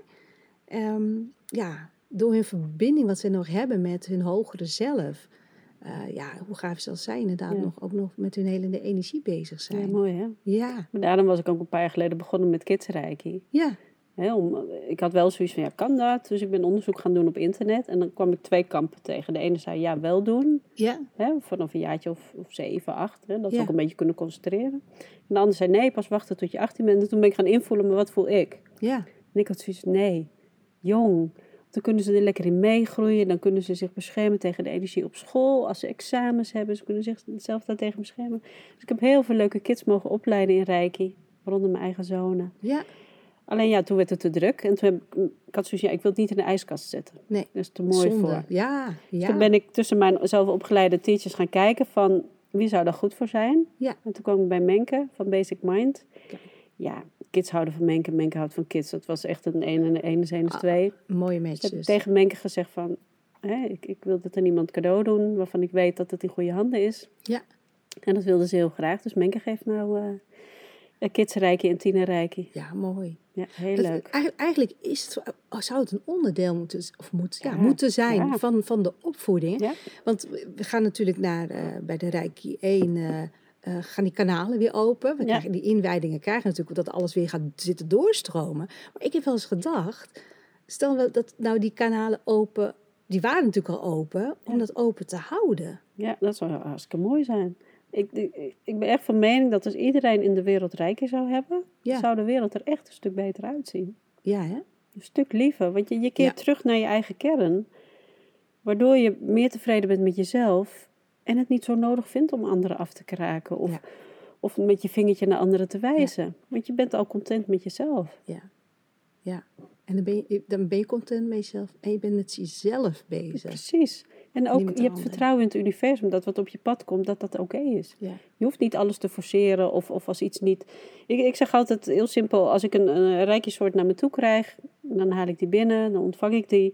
Ehm, ja, door hun verbinding wat ze nog hebben met hun hogere zelf. Eh, ja, hoe gaaf zal zij inderdaad
Ja.
nog, ook nog met hun hele energie bezig
ja,
zijn. Ja,
mooi hè.
ja,
Maar daarom was ik ook een paar jaar geleden begonnen met Kids Reiki.
ja,
Hè, om, ik had wel zoiets van, ja, kan dat? Dus ik ben onderzoek gaan doen op internet. En dan kwam ik twee kampen tegen. De ene zei, ja, wel doen. Hè, vanaf een jaartje of, of zeven, acht. Hè, dat ze
Ja.
ook een beetje kunnen concentreren. En de ander zei, nee, pas wachten tot je 18 bent. En toen ben ik gaan invoelen, maar wat voel ik?
ja,
En ik had zoiets nee, jong. Dan kunnen ze er lekker in meegroeien. Dan kunnen ze zich beschermen tegen de energie op school. Als ze examens hebben, ze kunnen zichzelf daartegen beschermen. Dus ik heb heel veel leuke kids mogen opleiden in Reiki. Waaronder mijn eigen zonen.
ja,
Alleen ja, toen werd het te druk. En toen heb ik, ik had zoiets ja, ik wil het niet in de ijskast zetten.
Nee,
Dat is te mooi
zonde.
voor.
Ja, ja.
Toen ben ik tussen mijn zelf opgeleide teachers gaan kijken van wie zou daar goed voor zijn.
Ja.
En toen kwam ik bij Menke van Basic Mind.
Kijk.
Ja, kids houden van Menke, Menke houdt van kids. Dat was echt een een en een is een is
Ah,
twee.
Mooie
Dus heb ik
matches.
tegen Menke gezegd van, hè, ik, ik wil dat aan iemand cadeau doen waarvan ik weet dat het in goede handen is.
Ja.
En dat wilde ze heel graag. Dus Menke geeft nou eh kids reiki en tiener reiki.
Ja, mooi.
Ja, heel
Het-
leuk.
eigenlijk- Eigenlijk is het, zou het een onderdeel moeten, of moet, ja,
Ja,
moeten zijn
ja.
van, van de opvoeding.
Ja.
Want we gaan natuurlijk naar, eh, bij de Rijkie 1 eh, eh, gaan die kanalen weer open. We
Ja.
krijgen, die inwijdingen krijgen natuurlijk dat alles weer gaat zitten doorstromen. Maar ik heb wel eens gedacht, stel wel dat nou die kanalen open, die waren natuurlijk al open, om
Ja.
dat open te houden.
Ja, dat zou hartstikke mooi zijn. Ik, ik, ik ben echt van mening dat als iedereen in de wereld reiki zou hebben,
Ja.
zou de wereld er echt een stuk beter uitzien.
Ja, hè?
Een stuk liever, want je, je keert
Ja.
terug naar je eigen kern, waardoor je meer tevreden bent met jezelf en het niet zo nodig vindt om anderen af te kraken of,
Ja.
of met je vingertje naar anderen te wijzen. Want je bent al content met jezelf.
En dan ben, je, dan ben je content met jezelf en je bent met jezelf bezig.
Precies. En
met
ook,
de
je hebt
anderen.
vertrouwen in het universum dat wat op je pad komt, dat dat oké is.
Ja,
Je hoeft niet alles te forceren of, of als iets niet... Ik, ik zeg altijd heel simpel, als ik een, een rijke soort naar me toe krijg, dan haal ik die binnen, dan ontvang ik die.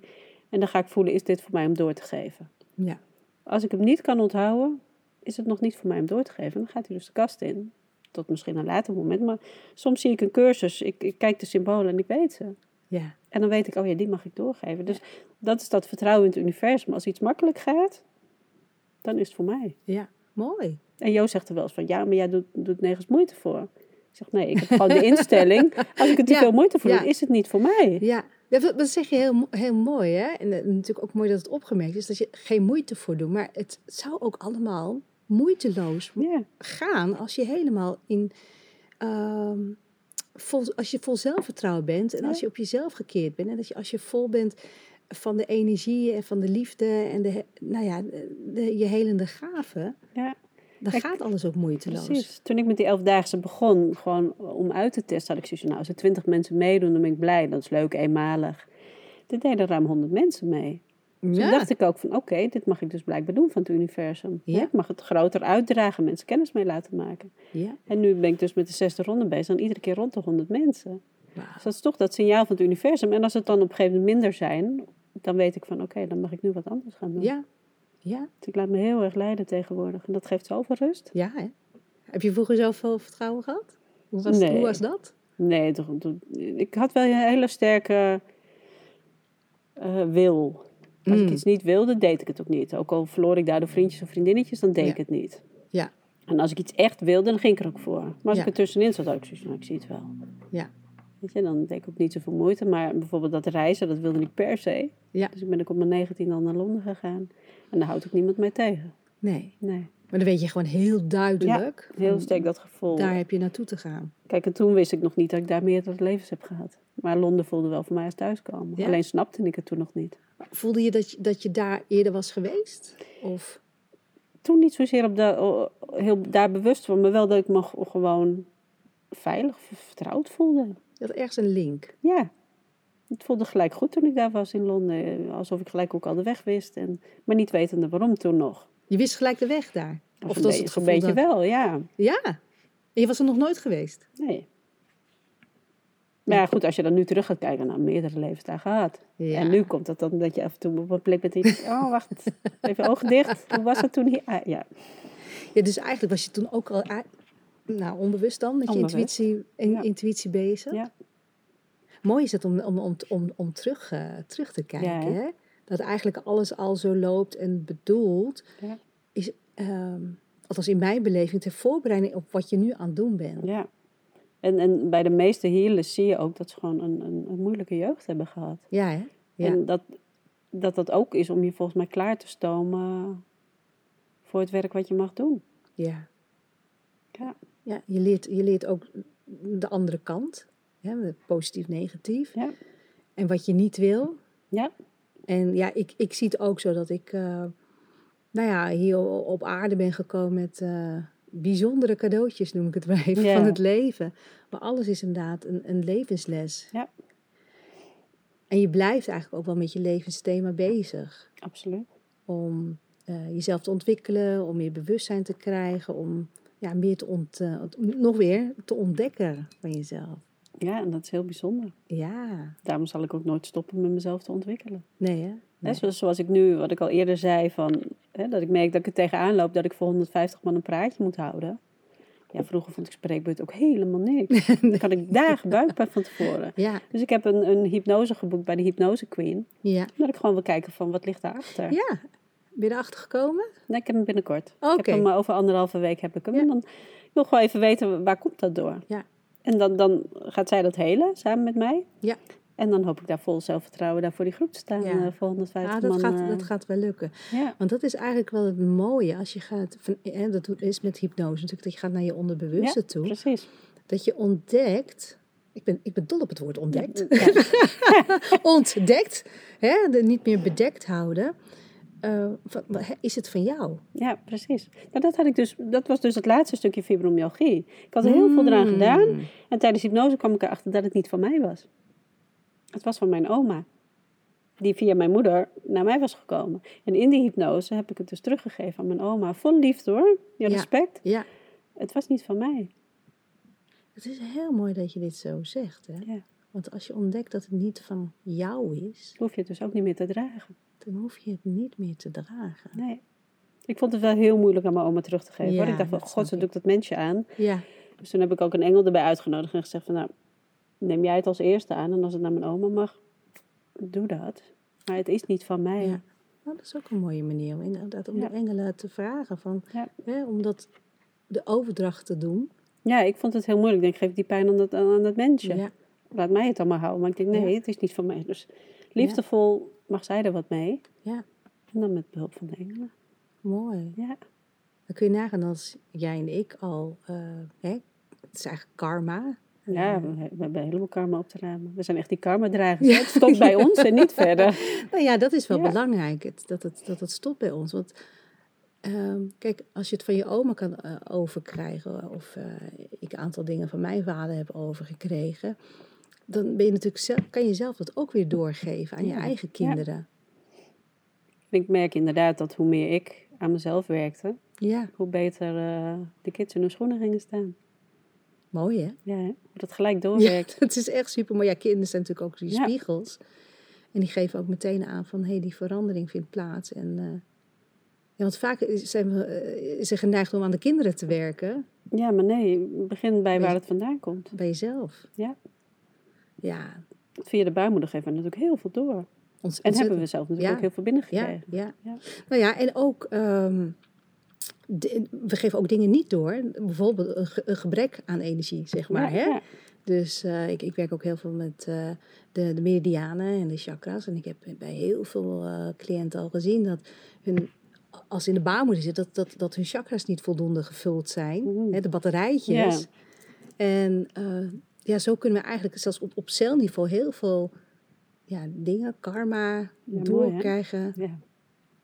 En dan ga ik voelen, is dit voor mij om door te geven?
ja,
Als ik hem niet kan onthouden, is het nog niet voor mij om door te geven. Dan gaat hij dus de kast in. Tot misschien een later moment. Maar soms zie ik een cursus, ik, ik kijk de symbolen en ik weet ze.
ja.
En dan weet ik, oh ja, die mag ik doorgeven. Dus dat is dat vertrouwen in het universum. Als iets makkelijk gaat, dan is het voor mij.
ja. mooi.
En Jo zegt er wel eens van, ja, maar jij doet, doet nergens moeite voor. Ik zeg, nee, ik heb gewoon
*laughs*
de instelling. Als ik er te
Ja,
veel moeite voor
ja.
doe, is het niet voor mij.
Ja, dat, dat zeg je heel, mo- heel mooi, hè? En eh, natuurlijk ook mooi dat het opgemerkt is dat je geen moeite voor doet. Maar het zou ook allemaal moeiteloos
Ja,
gaan als je helemaal in. ehm, vol, als je vol zelfvertrouwen bent en
Ja.
als je op jezelf gekeerd bent en dat je als je vol bent van de energie en van de liefde en de, nou ja, de, de- je helende gaven,
Ja,
dan
Kijk,
gaat alles ook moeiteloos.
precies. Toen ik met die elfdaagse begon, gewoon om uit te testen, had ik zoiets van, nou, als er twintig mensen meedoen, dan ben ik blij. Dat is leuk, eenmalig. Er deden ruim honderd mensen mee. Dus Toen
Ja,
dacht ik ook van, oké, dit mag ik dus blijkbaar doen van het universum.
Ja.
Ik mag het groter uitdragen, mensen kennis mee laten maken.
ja.
En nu ben ik dus met de zesde ronde bezig en iedere keer rond de honderd mensen.
Wauw.
Dus dat is toch dat signaal van het universum. En als het dan op een gegeven moment minder zijn, dan weet ik van, oké, dan mag ik nu wat anders gaan doen.
ja, ja,
Dus ik laat me heel erg leiden tegenwoordig. En dat geeft zoveel rust.
ja. Hè? Heb je vroeger zoveel vertrouwen gehad? Hoe was,
Nee.
hoe was dat?
Nee, toch, toch- ik had wel een hele sterke eh, wil. Als
Mm.
ik iets niet wilde, deed ik het ook niet. Ook al verloor ik daardoor vriendjes of vriendinnetjes, dan deed
Ja.
ik het niet.
Ja.
En als ik iets echt wilde, dan ging ik er ook voor. Maar als
Ja.
ik er tussenin zat, had ik zoiets van, nou, ik zie het wel.
Ja.
Weet je, dan deed ik ook niet zoveel moeite. Maar bijvoorbeeld dat reizen, dat wilde ik per se.
Ja.
Dus ik ben ook op mijn 19 al naar Londen gegaan. En daar houdt ook niemand mij tegen.
Nee,
Nee,
maar dan weet je gewoon heel duidelijk.
heel
van,
sterk dat gevoel.
Hmm. Daar heb je naartoe te gaan.
Kijk, en toen wist ik nog niet dat ik daar meerdere levens heb gehad. Maar Londen voelde wel voor mij als thuiskomen.
Ja.
Alleen snapte ik het toen nog niet.
Voelde je dat, je dat je daar eerder was geweest? Of
Toen niet zozeer op de, o- o- heel daar bewust van, maar wel dat ik me g- gewoon veilig, v- vertrouwd voelde.
je had ergens een link?
Ja, het voelde gelijk goed toen ik daar was in Londen. Alsof ik gelijk ook al de weg wist. En, maar niet wetende waarom toen nog.
Je wist gelijk de weg daar.
Of,
Of
een
dat is
be-
het
een
gevoel
beetje
dat-
wel, ja.
Ja. En je was er nog nooit geweest.
Nee. Maar ja, goed, als je dan nu terug gaat kijken, nou, meerdere levens daar gehad.
Ja.
En nu komt dat dan dat je af en toe op een plek bent en je denkt, oh *laughs* wacht, even ogen dicht. Hoe was het toen hier? Ah, ja.
Ja, dus eigenlijk was je toen ook al a- nou, onbewust dan met
Onbewust,
je intuïtie, in-
ja.
intuïtie bezig.
Ja.
Mooi is het om, om, om, om, om terug, eh, terug te kijken.
hè?
hè? Dat eigenlijk alles al zo loopt en bedoeld
Ja.
is, ehm, althans in mijn beleving, ter voorbereiding op wat je nu aan het doen bent.
ja. En, en bij de meeste healers zie je ook dat ze gewoon een, een, een moeilijke jeugd hebben gehad.
Ja, hè? Ja.
En dat, dat dat ook is om je volgens mij klaar te stomen voor het werk wat je mag doen.
Ja.
Ja.
ja je, leert, je leert ook de andere kant, hè? positief, negatief.
Ja.
En wat je niet wil,
Ja,
En ja, ik, ik zie het ook zo dat ik, eh, nou ja, hier o- op aarde ben gekomen met eh, bijzondere cadeautjes, noem ik het *laughs* maar even,
Ja.
van het leven. Maar alles is inderdaad een, een levensles.
Ja.
En je blijft eigenlijk ook wel met je levensthema bezig.
absoluut.
Om eh, jezelf te ontwikkelen, om meer bewustzijn te krijgen, om ja, meer te ont, eh, nog weer te ontdekken van jezelf.
Ja, en dat is heel bijzonder.
Ja,
Daarom zal ik ook nooit stoppen met mezelf te ontwikkelen.
nee hè?
Hè, zoals, zoals ik nu, wat ik al eerder zei, van, hè, dat ik merk dat ik er tegenaan loop dat ik voor 150 man een praatje moet houden. Ja, vroeger vond ik spreekbeurt ook helemaal
*laughs*
niks. Dan kan ik dagen buikpijn van tevoren.
Ja,
Dus ik heb een, een hypnose geboekt bij de Hypnose Queen.
ja.
Dat ik gewoon wil kijken van wat ligt daarachter.
Ja, ben je erachter gekomen?
Nee, ik heb hem binnenkort. Ik
Oké.
heb hem eh, over anderhalve week heb ik hem.
Ja.
En dan ik wil gewoon even weten waar komt dat door.
Ja.
En dan, dan gaat zij dat helen samen met mij.
Ja.
En dan hoop ik daar vol zelfvertrouwen daar voor die groep te staan.
Ja.
eh, voor 150
Ja, dat
man.
gaat,
eh,
dat gaat wel lukken.
ja.
Want dat is eigenlijk wel het mooie als je gaat, van, eh, hè, dat is met hypnose natuurlijk, dat je gaat naar je onderbewuste toe.
Precies.
Dat je ontdekt, ik ben, ik ben dol op het woord ontdekt,
Ja,
*laughs* ontdekt, hè, de niet meer bedekt houden. Eh, van, wa- hè, is het van jou?
*laughs* ja, precies. Nou, dat, had ik dus, dat was dus het laatste stukje fibromyalgie. Ik had er heel veel eraan gedaan. En tijdens hypnose kwam ik erachter dat het niet van mij was. Het was van mijn oma. Die via mijn moeder naar mij was gekomen. En in die hypnose heb ik het dus teruggegeven aan mijn oma. Vol liefde hoor. Ja,
Ja.
respect.
Ja,
Het was niet van mij.
het is heel mooi dat je dit zo zegt. Hè?
Ja.
Want als je ontdekt dat het niet van jou is,
Hoef je het dus ook niet meer te dragen.
dan hoef je het niet meer te dragen.
Nee. Ik vond het wel heel moeilijk aan mijn oma terug te geven.
Ja,
hoor. Ik dacht van,
dat
god, ze
snap
doe ik dat mensje aan.
Ja,
Dus toen heb ik ook een engel erbij uitgenodigd en gezegd van nou, neem jij het als eerste aan en als het naar mijn oma mag, doe dat. Maar het is niet van mij.
Ja. Nou, dat is ook een mooie manier om inderdaad om
Ja.
de engelen te vragen. Van,
Ja.
hè, om dat, de overdracht te doen.
Ja, ik vond het heel moeilijk. Ik denk, geef die pijn aan dat, aan dat mensje.
Ja.
Laat mij het dan maar houden. Maar ik denk, nee,
Ja.
het is niet van mij. Dus liefdevol mag zij er wat mee.
Ja.
En dan met behulp van de engelen.
Mooi.
Ja,
Dan kun je nagaan als jij en ik al, eh, hè, het is eigenlijk karma. hè,
Ja, we, we hebben een heleboel karma op te ruimen. We zijn echt die karma-dragers. Het stopt
*laughs*
bij ons en niet verder. *laughs*
Nou ja, dat is wel
Ja.
belangrijk, het- dat het, dat het stopt bij ons. Want ehm, kijk, als je het van je oma kan eh, overkrijgen, of eh, ik een aantal dingen van mijn vader heb overgekregen, dan ben je natuurlijk zelf, kan je zelf dat ook weer doorgeven aan je
Ja,
eigen
ja.
kinderen.
En ik merk inderdaad dat hoe meer ik aan mezelf werkte,
Ja,
hoe beter eh, de kids in hun schoenen gingen staan.
mooi hè?
Ja, hè? hoe dat gelijk
Ja, *laughs*
doorwerkt.
dat is echt super. Maar ja, kinderen zijn natuurlijk ook die
Ja.
spiegels. En die geven ook meteen aan van, hé, hey, die verandering vindt plaats. En, eh, ja, want vaak is- zijn we eh, zijn geneigd om aan de kinderen te werken.
Ja, maar nee, begin bij waar het vandaan komt.
Bij jezelf.
Ja.
Ja.
Via de baarmoeder geven we natuurlijk heel veel door.
Ons,
En
ontzettend.
hebben we zelf natuurlijk
Ja.
ook heel veel
ja,
binnengekregen.
ja.
Ja.
Nou ja, en ook... ehm, de- we geven ook dingen niet door. Bijvoorbeeld een, ge- een gebrek aan energie, zeg maar.
Ja,
hè?
ja.
Dus eh, ik, ik werk ook heel veel met eh, de, de meridianen en de chakras. En ik heb bij heel veel eh, cliënten al gezien dat hun, als ze in de baarmoeder zitten, dat, dat, dat hun chakras niet voldoende gevuld zijn.
Mhm.
Hè, de batterijtjes. En eh, ja, zo kunnen we eigenlijk zelfs op, op celniveau heel veel ja, dingen, karma,
mooi,
doorkrijgen.
Ja,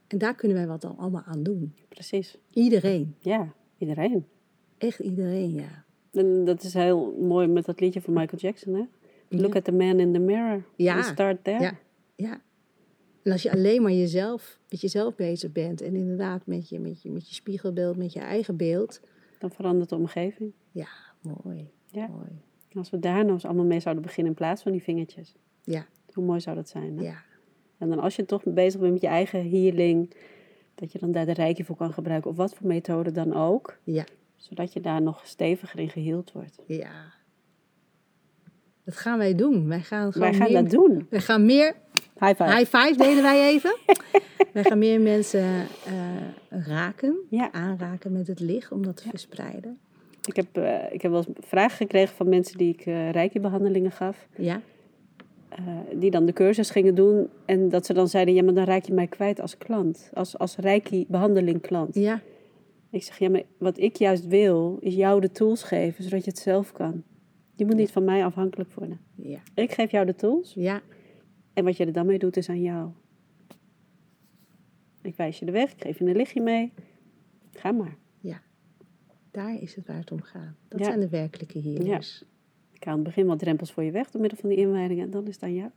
en daar kunnen wij wat dan allemaal aan doen.
precies.
Iedereen.
Ja, iedereen.
Echt iedereen, ja.
En dat is heel mooi met dat liedje van Michael Jackson, hè? Look at the man in the mirror.
Ja.
And start there.
Ja, ja. En als je alleen maar jezelf, met jezelf bezig bent en inderdaad met je, met je, met je spiegelbeeld, met je eigen beeld.
Dan verandert de omgeving.
Ja, mooi.
Ja.
Mooi.
En als we daar nou eens allemaal mee zouden beginnen in plaats van die vingertjes.
Ja,
Hoe mooi zou dat zijn, hè?
ja.
En dan als je toch bezig bent met je eigen healing. Dat je dan daar de rijkje voor kan gebruiken. Of wat voor methode dan ook.
Ja,
Zodat je daar nog steviger in geheeld wordt.
ja. Dat gaan wij doen. Wij gaan, gewoon
Wij gaan
meer,
dat doen.
Wij gaan meer,
High five.
high five deden wij
*laughs*
even. wij gaan meer mensen eh, raken,
Ja.
aanraken met het licht om dat te verspreiden.
Ik heb, eh, ik heb wel eens vragen gekregen van mensen die ik eh rijkje-behandelingen gaf.
Ja,
eh, die dan de cursus gingen doen. En dat ze dan zeiden, ja, maar dan raak je mij kwijt als klant. Als, als reiki-behandeling klant.
ja,
Ik zeg, ja, maar wat ik juist wil, is jou de tools geven, zodat je het zelf kan. Je moet niet van mij afhankelijk worden.
ja,
Ik geef jou de tools.
ja.
En wat je er dan mee doet, is aan jou. Ik wijs je de weg, ik geef je een lichtje mee. Ga maar.
Daar is het waar het om gaat. Dat
Ja.
zijn de werkelijke healers.
Ik haal aan het begin wat drempels voor je weg door middel van die inwijdingen. En dan is het aan jou.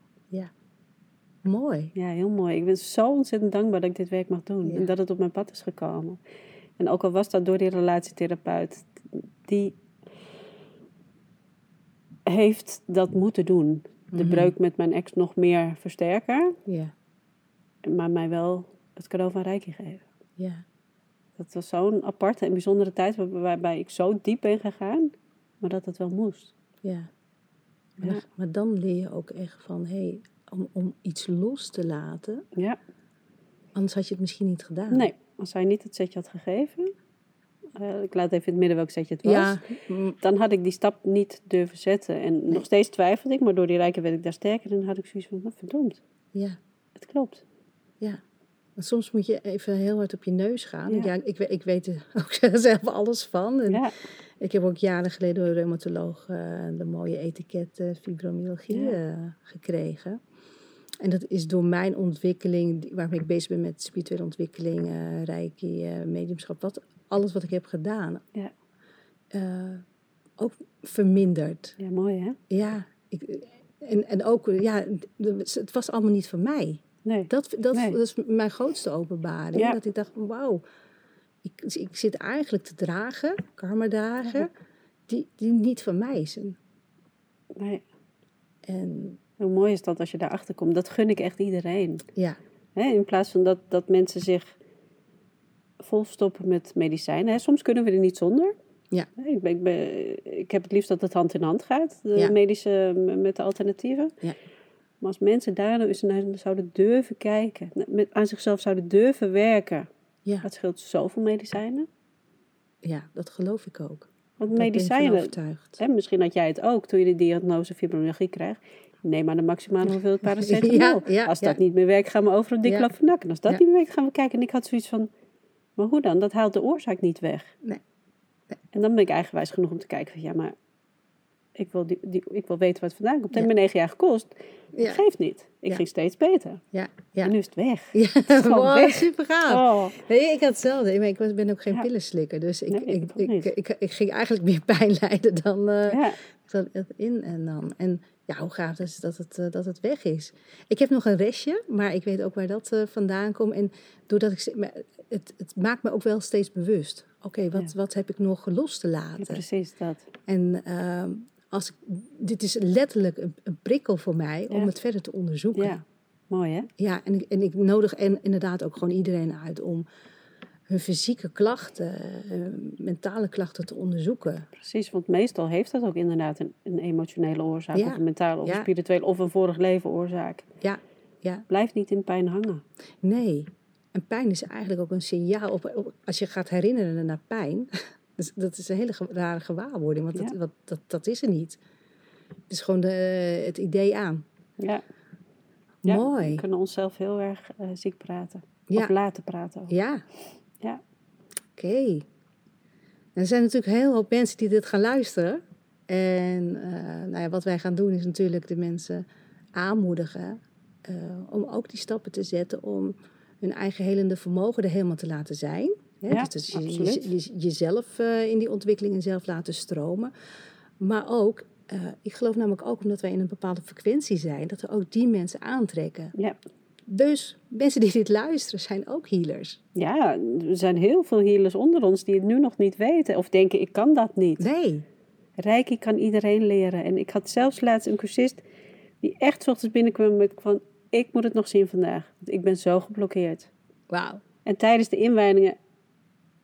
Mooi.
Ja, heel mooi. Ik ben zo ontzettend dankbaar dat ik dit werk mag doen.
Ja.
En dat het op mijn pad is gekomen. En ook al was dat door die relatietherapeut, die heeft dat moeten doen. De
Mhm.
breuk met mijn ex nog meer versterken,
Ja,
maar mij wel het cadeau van Rijkje geven.
ja.
Dat was zo'n aparte en bijzondere tijd waar- waarbij ik zo diep ben gegaan, maar dat het wel moest.
Ja.
Ja.
Maar, maar dan leer je ook echt van, hé, hey, om, om iets los te laten,
Ja.
anders had je het misschien niet gedaan.
Nee, als hij niet het setje had gegeven, eh, ik laat even in het midden welk setje het was.
Ja, mm,
dan had ik die stap niet durven zetten. En nog steeds twijfelde ik, maar door die rijken werd ik daar sterker. En dan had ik zoiets van, "Nou, verdomd,
ja,
het klopt.
ja. Want soms moet je even heel hard op je neus gaan.
Ja.
Ja, ik, we- ik weet er *laughs* ook zelf alles van. En
Ja,
Ik heb ook jaren geleden door een reumatoloog eh, de mooie etiket eh, fibromyalgie
Ja.
eh, gekregen. En dat is door mijn ontwikkeling, die- waarmee ik bezig ben met spirituele ontwikkeling, eh reiki, eh, mediumschap, wat, alles wat ik heb gedaan,
Ja.
eh, ook verminderd.
ja mooi hè?
Ja, ik, en, en ook, ja, het was allemaal niet van mij.
Nee.
Dat, dat,
Nee.
dat is mijn grootste openbaring.
Ja.
Dat ik dacht, wauw, ik, ik zit eigenlijk te dragen, karma dragen, die, die niet van mij zijn.
nee.
En
Hoe mooi is dat als je daarachter komt? Dat gun ik echt iedereen.
ja,
Hè, in plaats van dat, dat mensen zich volstoppen met medicijnen. Hè, soms kunnen we er niet zonder.
Ja.
Hè, Ik, ben, ik, ben- ik heb het liefst dat het hand in hand gaat, de
Ja.
medische m- met de alternatieven.
Ja.
Maar als mensen daar nou eens naar zouden durven kijken, met, aan zichzelf zouden durven werken,
ja,
Het scheelt zoveel medicijnen.
ja, dat geloof ik ook.
Want
Daar ben ik van
medicijnen,
overtuigd.
hè, misschien had jij het ook toen je de diagnose fibromyalgie kreeg. Neem maar de maximale
*laughs*
hoeveelheid
Ja,
paracetamol.
ja,
als dat
ja.
niet meer werkt, gaan we over op diclofenac. En als dat
Ja.
niet meer werkt, gaan we kijken. En ik had zoiets van, maar hoe dan? Dat haalt de oorzaak niet weg.
Nee.
En dan ben ik eigenwijs genoeg om te kijken van, ja, maar ik wil, die, die, ik wil weten wat het vandaan komt. Het
Ja.
heeft me negen jaar gekost.
Ja.
Geeft niet. Ik
Ja.
ging steeds beter.
Ja, ja.
En nu is het
*laughs*
weg.
Ja,
is gewoon
wow,
weg.
super gaaf.
Oh,
Nee, ik had hetzelfde. Ik ben- Ik was- ben ook geen
Ja.
pillenslikker. Dus ik,
Nee, ik
ik,
ook
ik,
niet.
ik, ik ging eigenlijk meer *laughs* pijn lijden dan, eh,
ja.
dan het in en dan. En ja, hoe gaaf is het dat het, eh, dat het weg is. Ik heb nog een restje, maar ik weet ook waar dat eh, vandaan komt. En doordat ik... ze- maar Het, het maakt me ook wel steeds bewust. Oké, wat,
Ja.
wat heb ik nog los te
Ja,
laten?
precies dat.
En ehm, als ik, dit is letterlijk een, een prikkel voor mij om
Ja.
het verder te onderzoeken.
Ja, mooi hè?
Ja, en ik, en ik nodig en inderdaad ook gewoon iedereen uit om hun fysieke klachten, eh, mentale klachten te onderzoeken.
Precies, want meestal heeft dat ook inderdaad een, een emotionele oorzaak,
Ja.
of een mentale, of
Ja.
een spirituele, of een vorig leven oorzaak.
Ja, ja,
Blijf niet in pijn hangen.
nee. En pijn is eigenlijk ook een signaal. Op, op- als je gaat herinneren naar pijn, *laughs* dus dat is een hele ge- rare gewaarwording, want dat,
Ja.
wat, dat, dat is er niet. Het is gewoon de, eh, het idee aan.
Ja. Ja,
Mooi.
We kunnen onszelf heel erg eh, ziek praten.
Ja.
Of laten praten. ook.
Ja,
Ja.
Oké. Er zijn natuurlijk heel veel mensen die dit gaan luisteren. En eh, nou ja, wat wij gaan doen is natuurlijk de mensen aanmoedigen eh, om ook die stappen te zetten om hun eigen helende vermogen er helemaal te laten zijn. Hè?
Ja,
dus dat je- je,
absoluut.
je- jezelf eh, in die ontwikkeling en zelf laten stromen. Maar ook, eh, ik geloof namelijk ook omdat wij in een bepaalde frequentie zijn, dat we ook die mensen aantrekken.
Ja.
Dus mensen die dit luisteren zijn ook healers.
ja, er zijn heel veel healers onder ons die het nu nog niet weten. Of denken, ik kan dat niet.
Nee.
Reiki kan iedereen leren. En ik had zelfs laatst een cursist die echt 's ochtends binnenkwam met van... Ik moet het nog zien vandaag, want ik ben zo geblokkeerd.
Wauw.
En tijdens de inwijdingen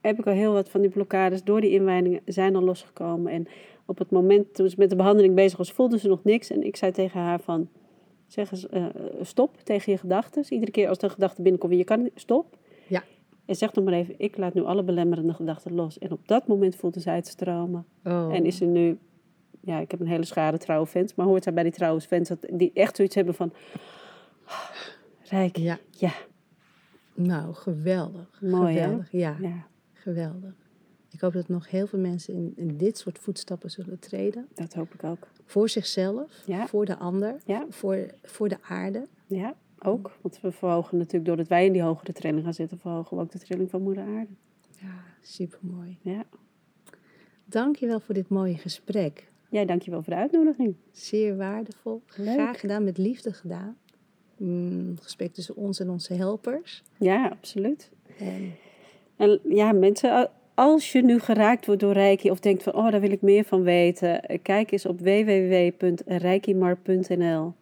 heb ik al heel wat van die blokkades door die inwijdingen zijn al losgekomen. En op het moment toen ze met de behandeling bezig was, voelde ze nog niks. En ik zei tegen haar van, zeg eens eh, stop tegen je gedachten. Iedere keer als de gedachte binnenkomt, je kan niet- stop.
Ja.
En zeg nog maar even, ik laat nu alle belemmerende gedachten los. En op dat moment voelde zij het stromen.
Oh.
En is ze nu, ja, ik heb een hele schade trouwe fans, maar hoort daar bij die trouwe fans dat die echt zoiets hebben van, "Ah, Rijk,
Ja.
ja,
Nou, geweldig.
Mooi, hè?
geweldig. Ja,
ja,
geweldig. Ik hoop dat nog heel veel mensen in, in dit soort voetstappen zullen treden.
dat hoop ik ook.
Voor zichzelf,
Ja.
voor de ander,
Ja.
voor, voor de aarde.
Ja, ook. Want we verhogen natuurlijk, doordat wij in die hogere trilling gaan zitten, verhogen we ook de trilling van moeder aarde.
Ja, supermooi.
Ja.
Dankjewel voor dit mooie gesprek.
Jij dankjewel voor de uitnodiging.
Zeer waardevol.
Leuk.
Graag gedaan, met liefde gedaan. Mm, gesprek tussen ons en onze helpers.
Ja, absoluut.
En,
En ja, mensen, a- als je nu geraakt wordt door Reiki of denkt van, oh, daar wil ik meer van weten, eh, kijk eens op www.reikimar.nl.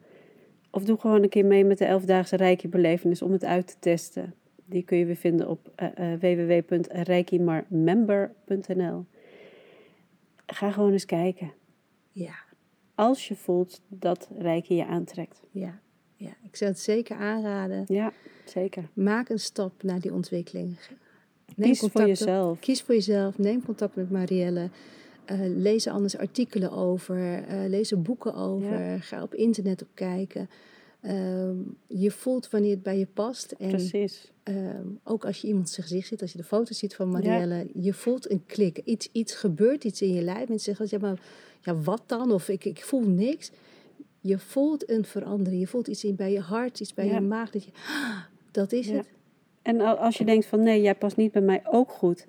Of doe gewoon een keer mee met de 11-daagse Reiki-belevenis om het uit te testen. Die kun je weer vinden op eh, eh, www.reikimarmember.nl. Ga gewoon eens kijken.
ja,
als je voelt dat Reiki je aantrekt.
ja, ja, ik zou het zeker aanraden.
Ja, zeker.
Maak een stap naar die ontwikkeling. Neem
Kies voor
contact op.
jezelf.
Kies voor jezelf, neem contact met Marielle. Eh, lees er anders artikelen over, eh, lees er boeken over, ga op internet op kijken. Ehm, je voelt wanneer het bij je past. En
Precies.
ehm, ook als je iemands gezicht ziet, als je de foto ziet van Marielle, je voelt een klik. Iets, iets gebeurt, iets in je lijf. Mensen zeggen, ja, maar ja, wat dan? Of ik, ik voel niks. Je voelt een verandering. Je voelt iets in bij je hart, iets bij
Ja.
je maag. Dat, je, "Ah, dat is
Ja.
het.
En al- als je denkt van nee, jij past niet bij mij ook goed,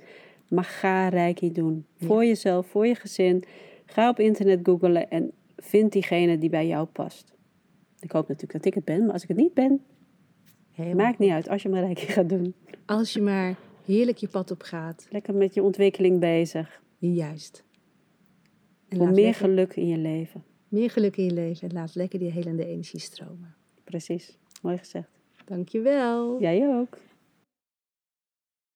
maar ga Reiki doen. Voor jezelf, voor je gezin. Ga op internet googlen en vind diegene die bij jou past. Ik hoop natuurlijk dat ik het ben, maar als ik het niet ben,
Helemaal.
maakt niet uit als je maar Reiki *laughs* gaat doen.
Als je maar heerlijk je pad op gaat.
Lekker met je ontwikkeling bezig.
Juist. En
Voor
laat
meer
lekker-
geluk in je leven.
meer geluk in je leven en laat lekker die helende energie stromen.
Precies. Mooi gezegd.
Dankjewel.
Jij ook.